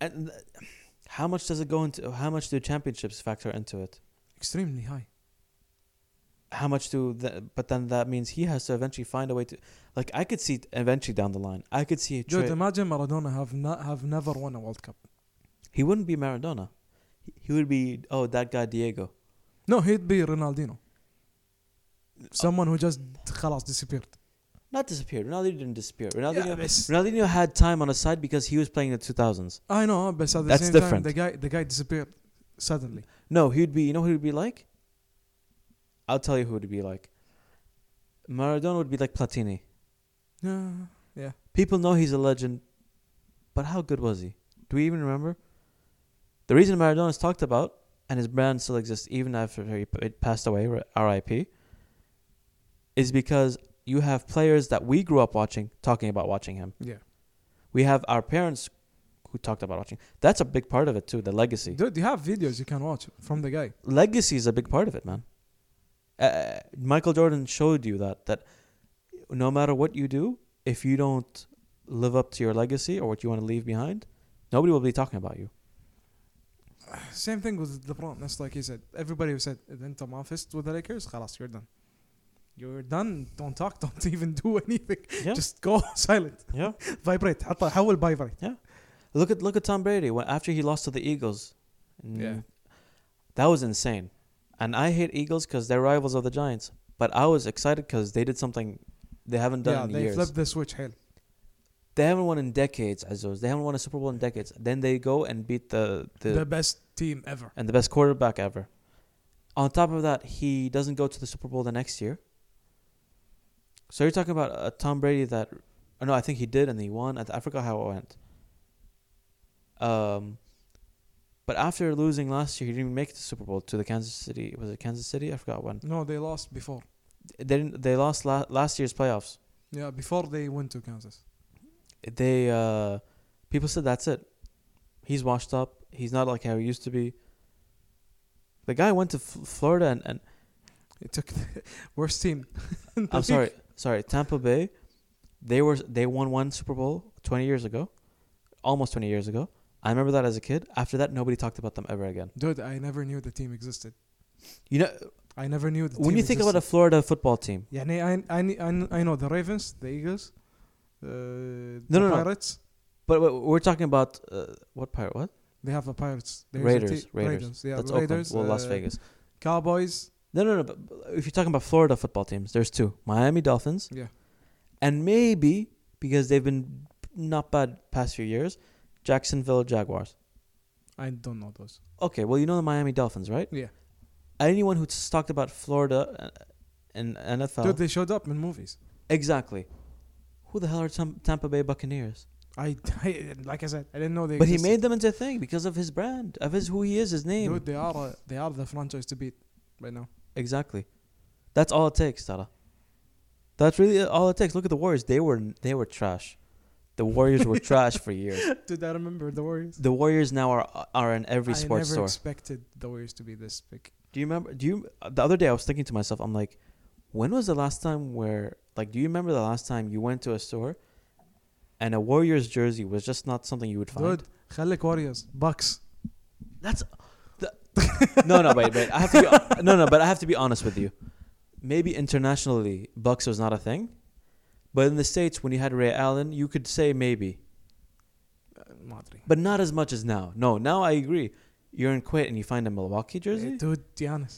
S1: And th- how much does it go into? How much do championships factor into it?
S2: Extremely high.
S1: How much do? The, but then that means he has to eventually find a way to. Like I could see t- eventually down the line, I could see. Tra-
S2: Dude, imagine Maradona have not have never won a World Cup.
S1: he wouldn't be Maradona. He- He would be oh that guy Diego.
S2: No, he'd be Ronaldinho. Someone who just خلاص disappeared.
S1: Not disappeared. Ronaldo didn't disappear. Ronaldinho,
S2: Yeah, بس-
S1: Ronaldinho had time on his side because he was playing in the two thousands.
S2: I know, but at the
S1: That's
S2: same
S1: different.
S2: time the guy the guy disappeared suddenly.
S1: No, he'd be. You know who he'd be like? I'll tell you who he'd be like. Maradona would be like Platini.
S2: Yeah.
S1: People know he's a legend, but how good was he? Do we even remember? The reason Maradona is talked about and his brand still exists even after he p- it passed away, r- R.I.P., is because you have players that we grew up watching talking about watching him.
S2: Yeah.
S1: We have our parents who talked about watching. That's a big part of it too. The legacy.
S2: Dude, you have videos you can watch from the guy.
S1: legacy is a big part of it, man. Uh, Michael Jordan showed you that that no matter what you do, if you don't live up to your legacy or what you want to leave behind, nobody will be talking about you.
S2: Same thing with LeBron. That's like he said. Everybody who said "إذا أنت ما فزت with the Lakers, خلاص you're done. You're done. Don't talk. Don't even do anything.
S1: Yeah.
S2: Just go silent.
S1: Yeah.
S2: Vibrate. حطها حول vibrate.
S1: Look at look at Tom Brady when after he lost to the Eagles. Mm,
S2: Yeah.
S1: That was insane. And I hate Eagles because they're rivals of the Giants. But I was excited because they did something they haven't done
S2: Yeah,
S1: in
S2: they
S1: years.
S2: flipped the switch. Hell.
S1: They haven't won in decades, Azos. They haven't won a Super Bowl in decades. Then they go and beat the, the,
S2: The best team ever.
S1: and the best quarterback ever. On top of that, he doesn't go to the Super Bowl the next year. So you're talking about uh, Tom Brady that, oh no, I think he did and he won. I, I forgot how it went. Um, but after losing last year, he didn't even make it to the Super Bowl to the Kansas City. Was it Kansas City? I forgot when.
S2: No, they lost before.
S1: They didn't. They lost la- last year's playoffs.
S2: Yeah, before they went to Kansas.
S1: they uh, people said that's it. He's washed up. He's not like how he used to be. The guy went to F- Florida and, and
S2: It took the worst team. in the
S1: I'm
S2: league.
S1: sorry, sorry, Tampa Bay. They were they won one Super Bowl 20 years ago, almost 20 years ago. I remember that as a kid. After that, nobody talked about them ever again.
S2: Dude, I never knew the team existed.
S1: You know,
S2: I never knew the
S1: when
S2: team
S1: you think about a
S2: existed.
S1: Florida football team,
S2: Yeah, I, I, I, I know the Ravens, the Eagles, uh, the
S1: no, no.
S2: Pirates.
S1: but w- we're talking about uh, what pirate? What
S2: They have the Pirates. There's a
S1: Raiders?
S2: te-
S1: Raiders.
S2: Yeah,
S1: That's
S2: Raiders.
S1: Oakland. Well, Las
S2: uh,
S1: Vegas.
S2: Cowboys.
S1: No, no, no. But but if you're talking about Florida football teams, there's two: Miami Dolphins,
S2: Yeah.
S1: and maybe because they've been not bad past few years, Jacksonville Jaguars.
S2: I don't know those.
S1: Okay, well you know the Miami Dolphins, right?
S2: Yeah.
S1: Anyone who's talked about Florida uh, and NFL,
S2: Dude, they showed up in movies.
S1: exactly. Who the hell are Tam- Tampa Bay Buccaneers?
S2: I, I like I said, I didn't know they.
S1: But he
S2: existed.
S1: made them into a thing because of his brand, of his who he is, his name.
S2: Dude, they are uh, they are the franchise to beat right now.
S1: Exactly. That's all it takes, Tara. That's really uh, all it takes. Look at the Warriors. They were they were trash. The Warriors were trash for years.
S2: Did I remember the Warriors?
S1: The Warriors now are are in every
S2: I
S1: sports
S2: never
S1: store.
S2: expected the Warriors to be this big.
S1: do you remember? Do you the other day I was thinking to myself, I'm like, when was the last time where like do you remember the last time you went to a store and a Warriors jersey was just not something you would find?
S2: Dude, خليك Warriors, Bucks.
S1: That's the, no, no, wait, wait. I have to be, no, no, but I have to be honest with you. Maybe internationally, Bucks was not a thing, but in the states, when you had Ray Allen, you could say maybe,
S2: Uh, Madri.
S1: but not as much as now. No, now I agree. You're in Quit and you find a Milwaukee jersey.
S2: Eh, Dude, Giannis.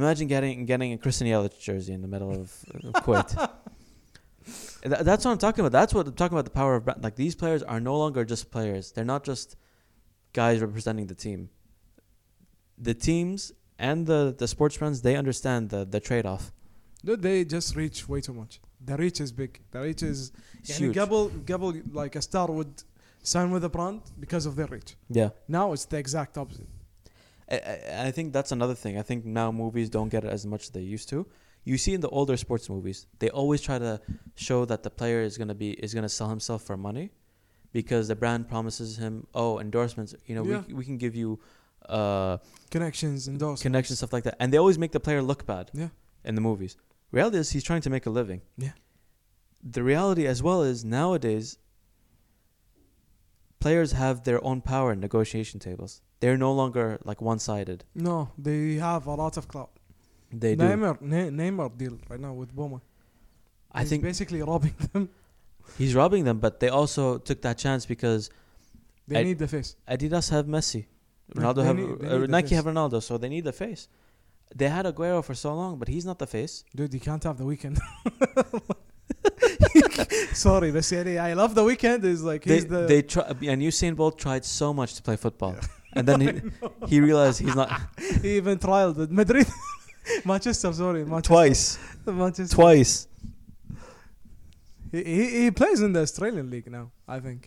S1: Imagine getting getting a Christian Yelich jersey in the middle of, of Quit. Th- that's what I'm talking about. That's what I'm talking about. The power of brand. like these players are no longer just players. They're not just guys representing the team. The teams and the the sports brands they understand the the trade off.
S2: Dude, they just reach way too much. The reach is big. The reach is. يعني
S1: Huge.
S2: قبل قبل like a star would sign with a brand because of their reach.
S1: Yeah,
S2: Now it's the exact opposite.
S1: I, I- I think that's another thing. I think now movies don't get it as much as they used to. You see in the older sports movies, they always try to show that the player is gonna be is gonna sell himself for money, because the brand promises him oh endorsements. You know
S2: Yeah.
S1: we we can give you. Uh,
S2: Connections and those.
S1: connection stuff like that, and they always make the player look bad.
S2: Yeah.
S1: In the movies, reality is he's trying to make a living.
S2: Yeah.
S1: The reality as well is nowadays, players have their own power in negotiation tables. They're no longer like one-sided.
S2: no, they have a lot of clout.
S1: They do.
S2: Neymar, Ne- Neymar deal right now with Boma.
S1: I think
S2: basically robbing them.
S1: he's robbing them, but they also took that chance because
S2: They
S1: I-
S2: need the face.
S1: Adidas have Messi,
S2: Yeah,
S1: Ronaldo
S2: they
S1: have
S2: need- they
S1: uh,
S2: need the
S1: Nike
S2: face.
S1: have Ronaldo, so they need the face. They had Aguero for so long, but he's not the face.
S2: Dude, you can't have the weekend. Sorry, but يعني I love the weekend. Is like
S1: They,
S2: he's the
S1: they try, and Usain Bolt tried so much to play football, and then he, he realized he's not
S2: he even trialed at Madrid, Manchester. Sorry, Manchester.
S1: twice
S2: Manchester.
S1: twice
S2: He, he he plays in the Australian league now. I think.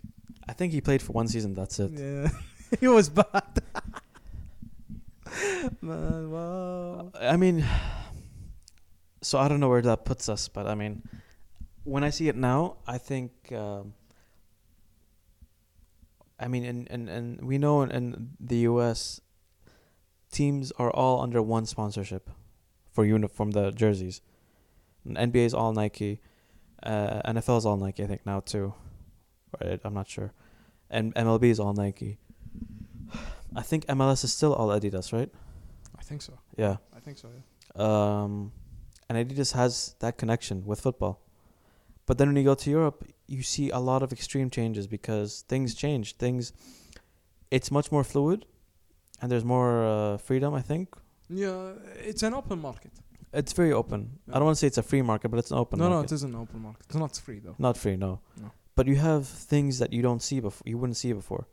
S1: i think he played for one season that's it
S2: Yeah, he was bad. Man, wow.
S1: i mean so i don't know where that puts us but i mean when i see it now i think um, i mean and, and, and we know in, in the us teams are all under one sponsorship for uniform the jerseys nba is all nike uh, nfl is all nike i think now too right i'm not sure and mlb is all nike i think mls is still all adidas right
S2: I think so.
S1: yeah
S2: I think so. Yeah.
S1: um, and Adidas has that connection with football. But then when you go to Europe, you see a lot of extreme changes because things change. Things, it's much more fluid, and there's more uh, freedom. I think
S2: Yeah, it's an open market.
S1: it's very open. I
S2: Yeah.
S1: don't want to say it's a free market, but it's an open.
S2: no, no,
S1: market.
S2: it is an open market. It's not free though.
S1: Not free, no.
S2: No.
S1: But you have things that you don't see before. You wouldn't see before.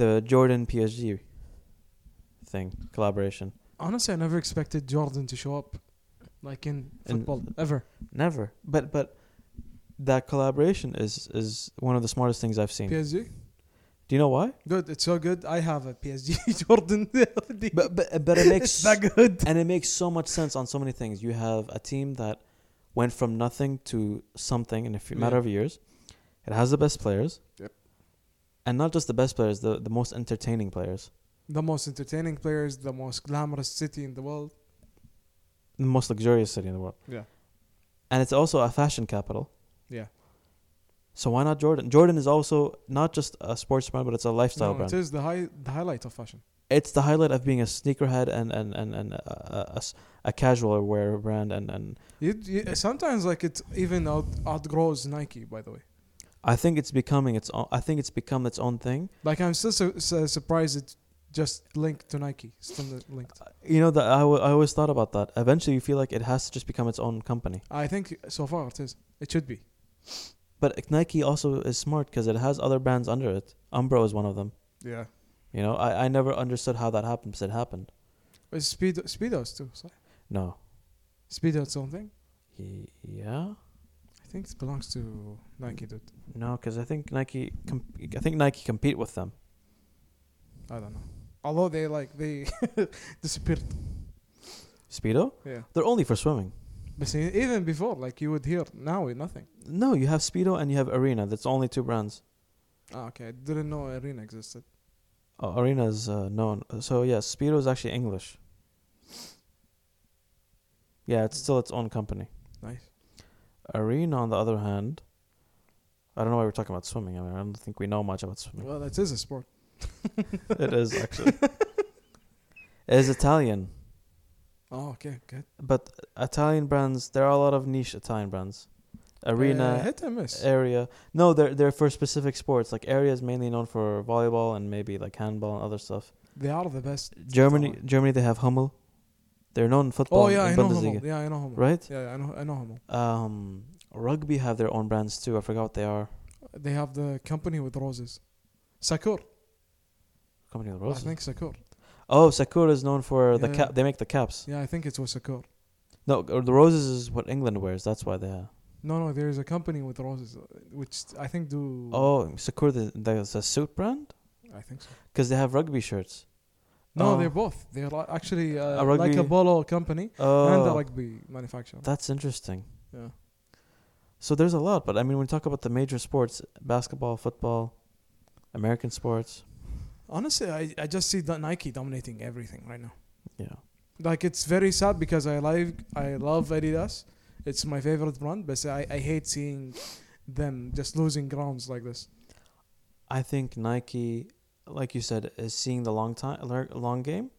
S1: The Jordan PSG thing collaboration.
S2: Honestly, I never expected Jordan to show up, like in
S1: In-
S2: football ever.
S1: Never. But but that collaboration is is one of the smartest things I've seen.
S2: PSG,
S1: Do you know why?
S2: dude, it's so good. I have a PSG Jordan. but
S1: But but but it
S2: it's
S1: makes
S2: that good.
S1: and it makes so much sense on so many things. You have a team that went from nothing to something in a few
S2: Yeah.
S1: matter of years. It has the best players.
S3: Yep.
S1: And not just the best players, the, the most entertaining players,
S2: The most entertaining players, the most glamorous city in the world.
S1: the most luxurious city in the world.
S2: Yeah.
S1: And it's also a fashion capital.
S2: Yeah.
S1: So why not Jordan? Jordan is also not just a sports brand, but it's a lifestyle
S2: No,
S1: brand.
S2: it is the high the highlight of fashion.
S1: it's the highlight of being a sneakerhead and and and and a, a- a s- a casual wear brand and and
S2: You, you, sometimes like it even out, outgrows Nike. By the way,
S1: I think it's becoming its own. I think it's become its own thing.
S2: like I'm still su- su- surprised it just linked to Nike. Still not linked.
S1: You know that I wa- I always thought about that. Eventually, you feel like it has to just become its own company.
S2: I think so far it is. It should be.
S1: But Nike also is smart because it has other brands under it. Umbro is one of them.
S3: Yeah.
S1: You know, I, I never understood how that happened, but it happened.
S2: It's Speedo, Speedos too. Sorry.
S1: No.
S2: Speedo its own thing.
S1: Y- yeah.
S2: I think it belongs to Nike, dude.
S1: No, because I think Nike. Com- I think Nike compete with them.
S2: I don't know. Although they like they disappeared.
S1: Speedo.
S2: Yeah.
S1: They're only for swimming.
S2: But see, even before, like you would hear now nothing.
S1: No, you have Speedo and you have Arena. That's only two brands.
S2: Ah, okay. I didn't know Arena existed.
S1: Uh, Arena is uh, known. So yeah, Speedo is actually English. Yeah, it's still its own company.
S2: Nice.
S1: Arena, on the other hand, I don't know why we're talking about swimming. I mean, I don't think we know much about swimming.
S2: Well, it is a sport.
S1: it is actually. it is Italian,
S2: Oh, okay. Good.
S1: but Italian brands. There are a lot of niche Italian brands.
S2: Uh,
S1: Arena, eh,
S2: hit and miss.
S1: area. No, they're they're for specific sports. Like area is mainly known for volleyball and maybe like handball and other stuff.
S2: They are the best.
S1: Germany,
S2: Taiwan.
S1: Germany, they have Hummel. They're known in football.
S2: Oh yeah, I
S1: in
S2: know
S1: Bundesliga,
S2: Hummel. Yeah, I know Hummel.
S1: right?
S2: Yeah, yeah, I know. I know Hummel.
S1: Um, rugby have their own brands too. I forgot what they are.
S2: They have the company with roses. Sakur.
S1: Company of the
S2: I
S1: Roses.
S2: think Sakur.
S1: Oh, Sakura is known for the
S2: Yeah.
S1: cap. They make the caps.
S2: Yeah, I think it was Sakur.
S1: No, or the roses is what England wears. That's why they have.
S2: No, no, there is a company with roses, uh, which I think do.
S1: Oh, Sakura, the, there's a suit brand
S2: I think so.
S1: because they have rugby shirts.
S2: No,
S1: Oh.
S2: they're both. They're li- actually uh,
S1: A
S2: like a
S1: rugby-
S2: polo company and a
S1: Oh,
S2: rugby manufacturer.
S1: that's interesting.
S2: yeah.
S1: So there's a lot, but I mean, when we talk about the major sports, basketball, football, American sports,
S2: Honestly, I, I just see that Nike dominating everything right now.
S1: yeah,
S2: Like it's very sad because I like I love Adidas. It's my favorite brand, but I, I hate seeing them just losing grounds like this.
S1: I think Nike, like you said, is seeing the long time lar- long game.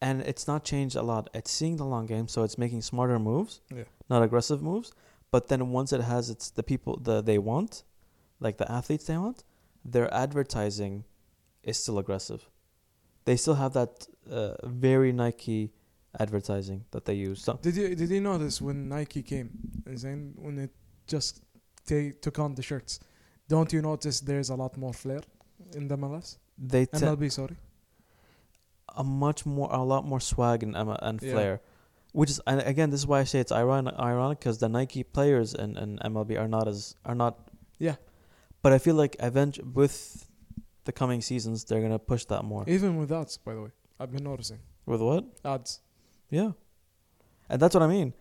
S1: And it's not changed a lot. It's seeing the long game, so it's making smarter moves,
S2: Yeah.
S1: not aggressive moves. But then once it has its the people that they want, like the athletes they want, their advertising is still aggressive. They still have that uh, very Nike advertising that they use. So,
S2: Did you did you notice when Nike came, Zain, when it just they took on the shirts? Don't you notice there's a lot more flair in the MLS?
S1: they te-
S2: MLB, sorry.
S1: a much more a lot more swag and um, and
S2: Yeah.
S1: flair which is and again this is why i say it's ironic ironic because the nike players and, and mlb are not as are not
S2: Yeah.
S1: but i feel like eventually with the coming seasons they're gonna push that more
S2: Even with ads, by the way, I've been noticing
S1: with what
S2: ads.
S1: yeah and that's what i mean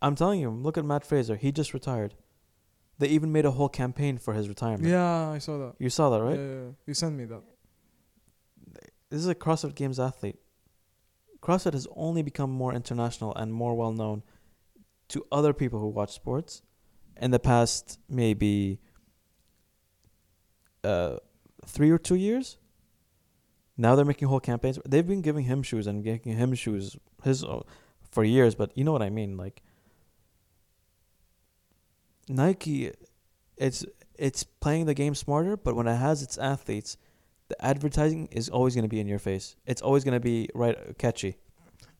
S1: i'm telling you look at matt fraser he just retired they even made a whole campaign for his retirement
S2: Yeah, I saw that.
S1: you saw that right
S2: Yeah, yeah, yeah. you sent me that.
S1: this is a CrossFit Games athlete. CrossFit has only become more international and more well known to other people who watch sports in the past maybe uh, three or two years. Now they're making whole campaigns. They've been giving him shoes and making him shoes his o- for years, but you know what I mean. Like Nike, it's it's playing the game smarter, but when it has its athletes, the advertising is always going to be in your face. It's always going to be right catchy.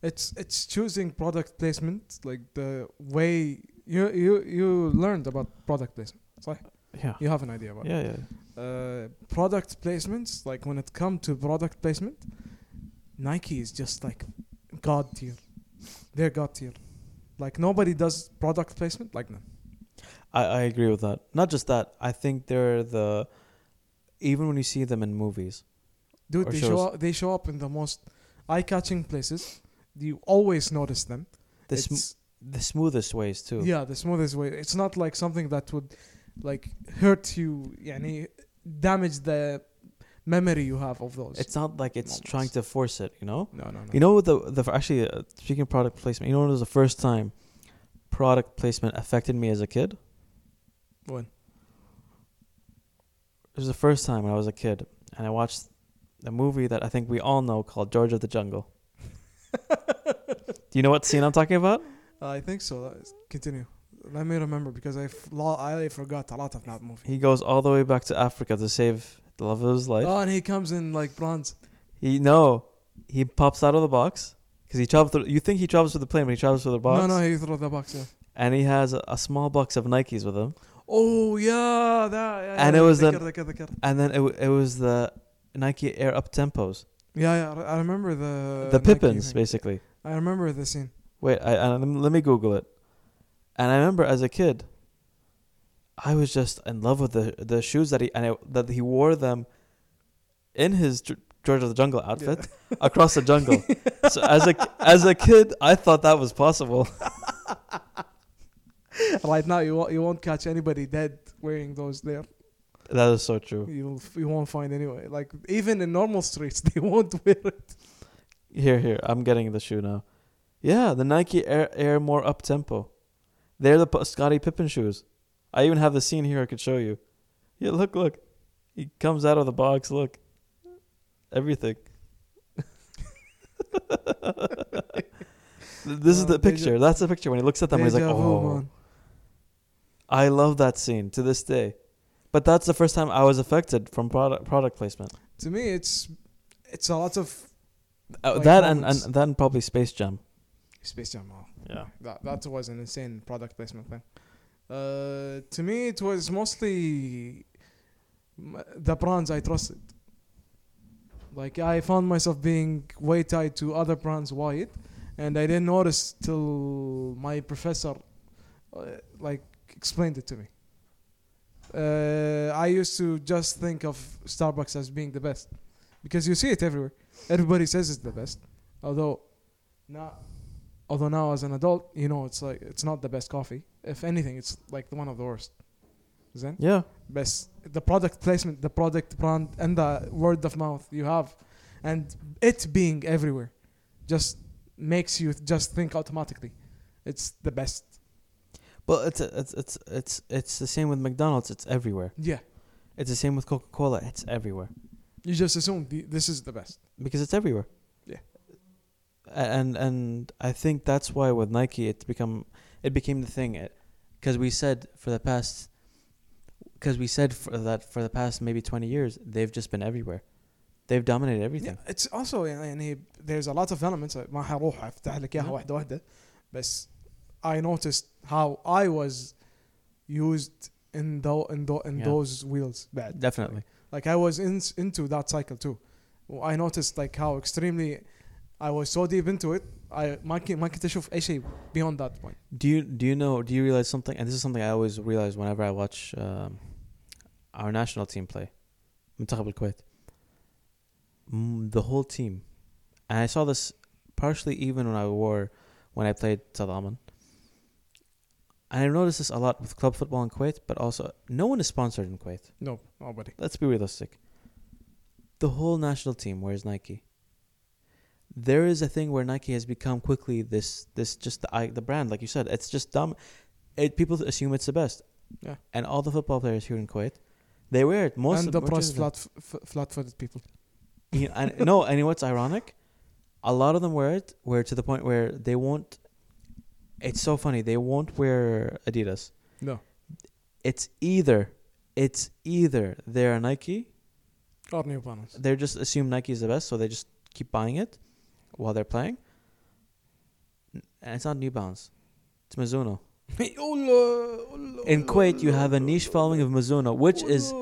S2: It's it's choosing product placement like the way you you you learned about product placement.
S1: Yeah.
S2: You have an idea about it.
S1: Yeah, yeah.
S2: Uh, product placements like when it comes to product placement, Nike is just like god tier. They're god tier. Like nobody does product placement like them.
S1: I, I agree with that. Not just that. I think they're the even when you see them in movies.
S2: Dude,
S1: Or
S2: they
S1: shows.
S2: show up, they show up in the most eye-catching places. You always notice them.
S1: This
S2: it's
S1: the smoothest ways too.
S2: Yeah, the smoothest way. It's not like something that would like hurt you, yani damage the memory you have of those.
S1: It's not like it's
S2: Moments.
S1: trying to force it, you know?
S2: no, no, no.
S1: You know what the the actually uh, speaking of product placement, you know when it was the first time product placement affected me as a kid?
S2: When?
S1: It was the first time when I was a kid and I watched a movie that I think we all know called George of the Jungle. Do you know what scene I'm talking about?
S2: Uh, I think so. That is- Continue. Let me remember because I f- lo- I forgot a lot of that movie.
S1: He goes all the way back to Africa to save the love of his life.
S2: Oh, and he comes in like bronze.
S1: He no, he pops out of the box because he travels. Through, you think he travels through the plane, but he travels through the box.
S2: No, no, he threw the box. Yeah.
S1: And he has a, a small box of Nikes with him.
S2: Oh yeah, that. Yeah,
S1: And
S2: yeah,
S1: it was
S2: ذكر-
S1: an-
S2: ذكر- ذكر.
S1: And then it, w- it was the Nike Air Up Tempos,
S2: Yeah, yeah. I- I remember the
S1: the
S2: Uh, Nike
S1: Pippins,
S2: thing.
S1: basically.
S2: I remember the scene.
S1: Wait, I, I, lem- let me Google it. And I remember as a kid, I was just in love with the the shoes that he and I, that he wore them in his Ge- George of the Jungle outfit across the jungle. so as a as a kid, I thought that was possible.
S2: right now, you won't, you won't catch anybody dead wearing those there.
S1: That is so true.
S2: You'll f- you won't find anyway. Like even in normal streets, they won't wear it.
S1: Here, here. I'm getting the shoe now. Yeah, the Nike Air Air more up tempo. They're the P- Scottie Pippen shoes. I even have the scene here. I could show you. Yeah, look, look. He comes out of the box. Look, everything. this is
S2: Uh,
S1: the
S2: deja-
S1: picture. That's the picture when he looks at them. He's like,
S2: Deja vu,
S1: "Oh,
S2: man.
S1: I love that scene to this day." But that's the first time I was affected from product product placement.
S2: To me, it's it's a lot of
S1: Uh,
S2: Like
S1: that and, and
S2: moments.
S1: then probably Space Jam.
S2: Space Jam. oh.
S1: Yeah.
S2: That that was an insane product placement thing. Uh, to me, it was mostly m- the brands I trusted. Like I found myself being way tied to other brands wide, and I didn't notice till my professor, uh, like, explained it to me. Uh, I used to just think of Starbucks as being the best, because you see it everywhere. Everybody says it's the best, although not although now as an adult you know it's like it's not the best coffee if anything it's like the one of the worst Zen
S1: Yeah.
S2: best the product placement the product brand and the word of mouth you have and it being everywhere just makes you just think automatically it's the best
S1: Well, it's it's it's it's it's the same with McDonald's. It's everywhere.
S2: yeah
S1: It's the same with Coca Cola. It's everywhere
S2: you just assume the, this is the best
S1: because it's everywhere.
S2: Yeah.
S1: A- And and I think that's why with Nike it's become it became the thing. Because we said for the past, because we said for that for the past maybe twenty years they've just been everywhere. They've dominated everything.
S2: Yeah, it's also يعني there's a lot of elements Uh, ما حروح افتح لك اياها
S1: Mhm.
S2: واحده واحده بس I noticed how I was used in tho in tho in
S1: Yeah.
S2: those wheels bad.
S1: Definitely.
S2: Like I was in, into that cycle too. I noticed like how extremely I was so deep into it. I ما كنت ما كنت اشوف اي شيء beyond that point.
S1: Do you do you know do you realize something? And this is something I always realize whenever I watch um, our national team play, منتخب الكويت. Mm, The whole team, and I saw this partially even when I wore when I played Salaman. And I noticed this a lot with club football in Kuwait, but also no one is sponsored in Kuwait.
S2: No, nobody.
S1: Let's be realistic. The whole national team wears Nike. There is a thing where Nike has become quickly this this just the i- the brand, like you said. It's just dumb. It people assume it's the best.
S2: Yeah.
S1: And all the football players here in Kuwait, they wear it. Most
S2: and
S1: of
S2: the
S1: most
S2: plus
S1: of them.
S2: flat f- flat-footed people.
S1: You know, and, no, and you know what's ironic? A lot of them wear it, where to the point where they won't. It's so funny. They won't wear Adidas.
S2: No.
S1: It's either, it's either they're a Nike
S2: Or New Balance.
S1: they just assume Nike is the best, so they just keep buying it while they're playing. N- And it's not New Balance, it's Mizuno. In Kuwait, you have a niche following of Mizuno, which is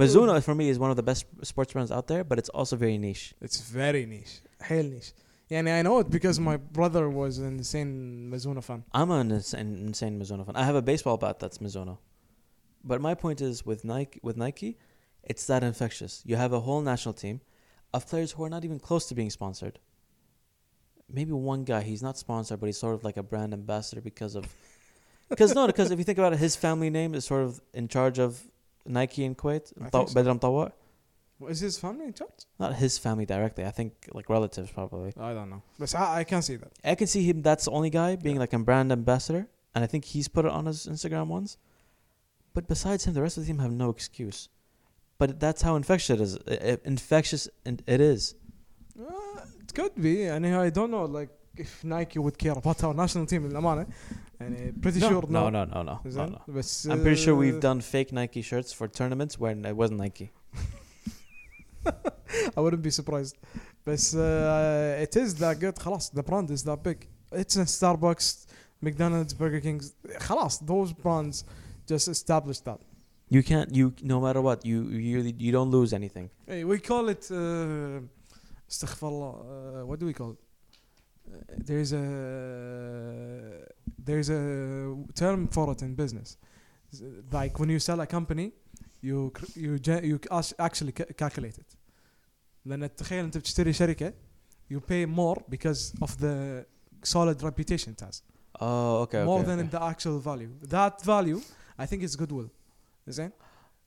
S1: Mizuno for me is one of the best sports brands out there, but it's also very niche.
S2: It's very niche. Hell niche. Yeah, I know it because my brother was an insane Mizuno fan.
S1: I'm an insane, insane Mizuno fan. I have a baseball bat that's Mizuno, but my point is with Nike, with Nike, it's that infectious. You have a whole national team of players who are not even close to being sponsored. maybe one guy. He's not sponsored, but he's sort of like a brand ambassador because of. Because no, because if you think about it, his family name is sort of in charge of Nike in Kuwait.
S2: I think
S1: Mtaw-
S2: so.
S1: Badr Mtawar.
S2: Is his family in charge?
S1: Not his family directly. I think like relatives probably.
S2: I don't know. But I, I can't see that.
S1: I can see him. That's the only guy being like a brand ambassador, and I think he's put it on his Instagram once. But besides him, the rest of the team have no excuse. But that's how infectious it is. I- I- Infectious and it is.
S2: Uh, it could be. And I don't know like if Nike would care about our national team in Amana. And eh, pretty sure
S1: no, no, no, no, no,
S2: زين؟
S1: no.
S2: بس
S1: I'm pretty sure we've
S2: uh,
S1: done fake Nike shirts for tournaments when it wasn't Nike.
S2: I wouldn't be surprised. But uh, it is that good. خلاص the brand is that big. It's in Starbucks, McDonald's, Burger King's. خلاص those brands just established that.
S1: You can't. You no matter what. You you really- you don't lose anything.
S2: Hey, we call it. Uh, استغفر الله. Uh, what do we call it? Uh, There's a there's a term for it in business. uh, Like when you sell a company, you cr- you ge- you ac- actually ca- calculate it. لأن تخيل أنت بتشتري شركة you pay more because of the solid reputation it has
S1: Oh, okay.
S2: more
S1: okay,
S2: than
S1: okay.
S2: the actual value. That value, I think, is goodwill. زين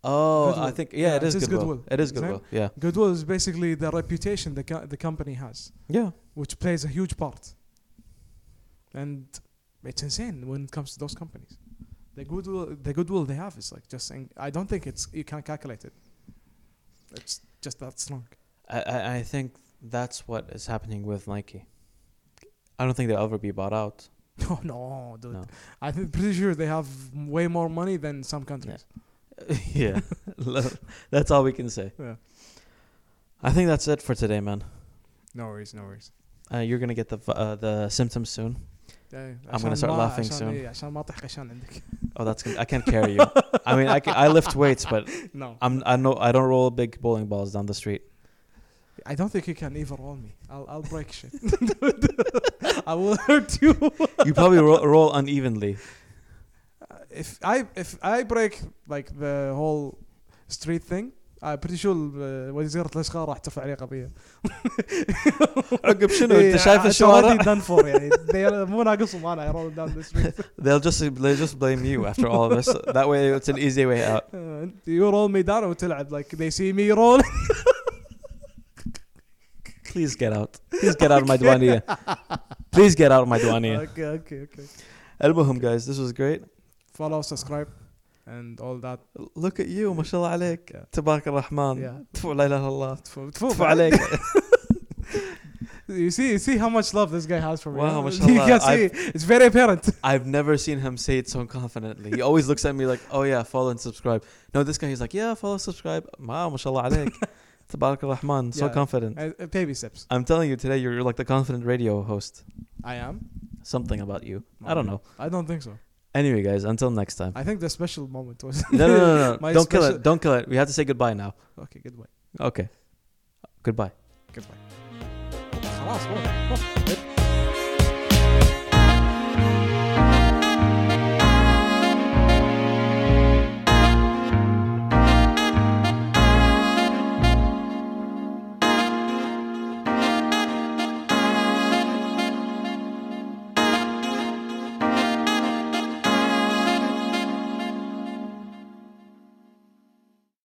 S1: Oh, I
S2: goodwill.
S1: think yeah,
S2: Yeah,
S1: it is
S2: it is
S1: goodwill.
S2: goodwill.
S1: It is
S2: Exact-
S1: goodwill. Yeah,
S2: goodwill is basically the reputation the co- the company has.
S1: yeah.
S2: which plays a huge part. And it's insane when it comes to those companies. The goodwill, the goodwill they have is like just saying. I don't think it's you can calculate it. It's just that strong.
S1: I, I I think that's what is happening with Nike. I don't think they'll ever be bought out.
S2: Oh no, dude!
S1: No.
S2: I'm pretty sure they have m- way more money than some countries.
S1: yeah, that's all we can say.
S2: Yeah.
S1: I think that's it for today, man.
S2: No worries, no worries.
S1: Uh, you're gonna get the v- uh, the symptoms soon.
S2: I'm
S1: gonna start laughing
S2: عشان
S1: soon.
S2: إيه، عشان ما أطيح قشان عندك.
S1: Oh, that's gonna, I can't carry you. I mean, I, ca- I lift weights, but
S2: No,
S1: I'm I know I don't roll big bowling balls down the street.
S2: I don't think you can even roll me. I'll I'll break shit. I will hurt you.
S1: You probably roll, roll unevenly.
S2: Uh, if I if I break like the whole street thing I'm pretty sure uh, وزيرة الاشغال راح ترفع عليه قضية
S1: عقب شنو؟ أنت شايف
S2: It's
S1: الشوارع؟
S2: already done for يعني They- مو ناقصهم انا I roll down the street
S1: They'll just they just blame you after all of this. That way, it's an easy way out.
S2: Uh, you roll me down وتلعب like they see me roll
S1: Please get out. Please get out of my douaniya. Please get out of my douaniya.
S2: okay okay okay
S1: المهم guys, this was great.
S2: follow subscribe and all that
S1: Look at you, ما شاء الله عليك.
S2: Yeah.
S1: تبارك الرحمن.
S2: yeah
S1: تفو لا اله الا الله.
S2: تفو
S1: تفو عليك.
S2: you see you see how much love this guy has for me
S1: Wow, ما شاء
S2: you
S1: الله.
S2: can see it's very apparent
S1: I've never seen him say it so confidently. He always looks at me like, oh yeah, follow and subscribe. No, this guy, he's like, yeah, follow, subscribe. Wow, ما شاء الله عليك. تبارك الرحمن. So
S2: Yeah.
S1: confident.
S2: Uh, uh, baby steps
S1: I'm telling you today, you're like the confident radio host.
S2: I am
S1: Something about you. I don't know.
S2: I don't think so.
S1: Anyway, guys, until next time.
S2: I think the special moment was
S1: No, no, no, no.
S2: My
S1: Don't kill
S2: special-
S1: it. Don't kill it. We have to say goodbye now.
S2: okay. Goodbye.
S1: Okay. Goodbye.
S2: Goodbye. خلاص والله.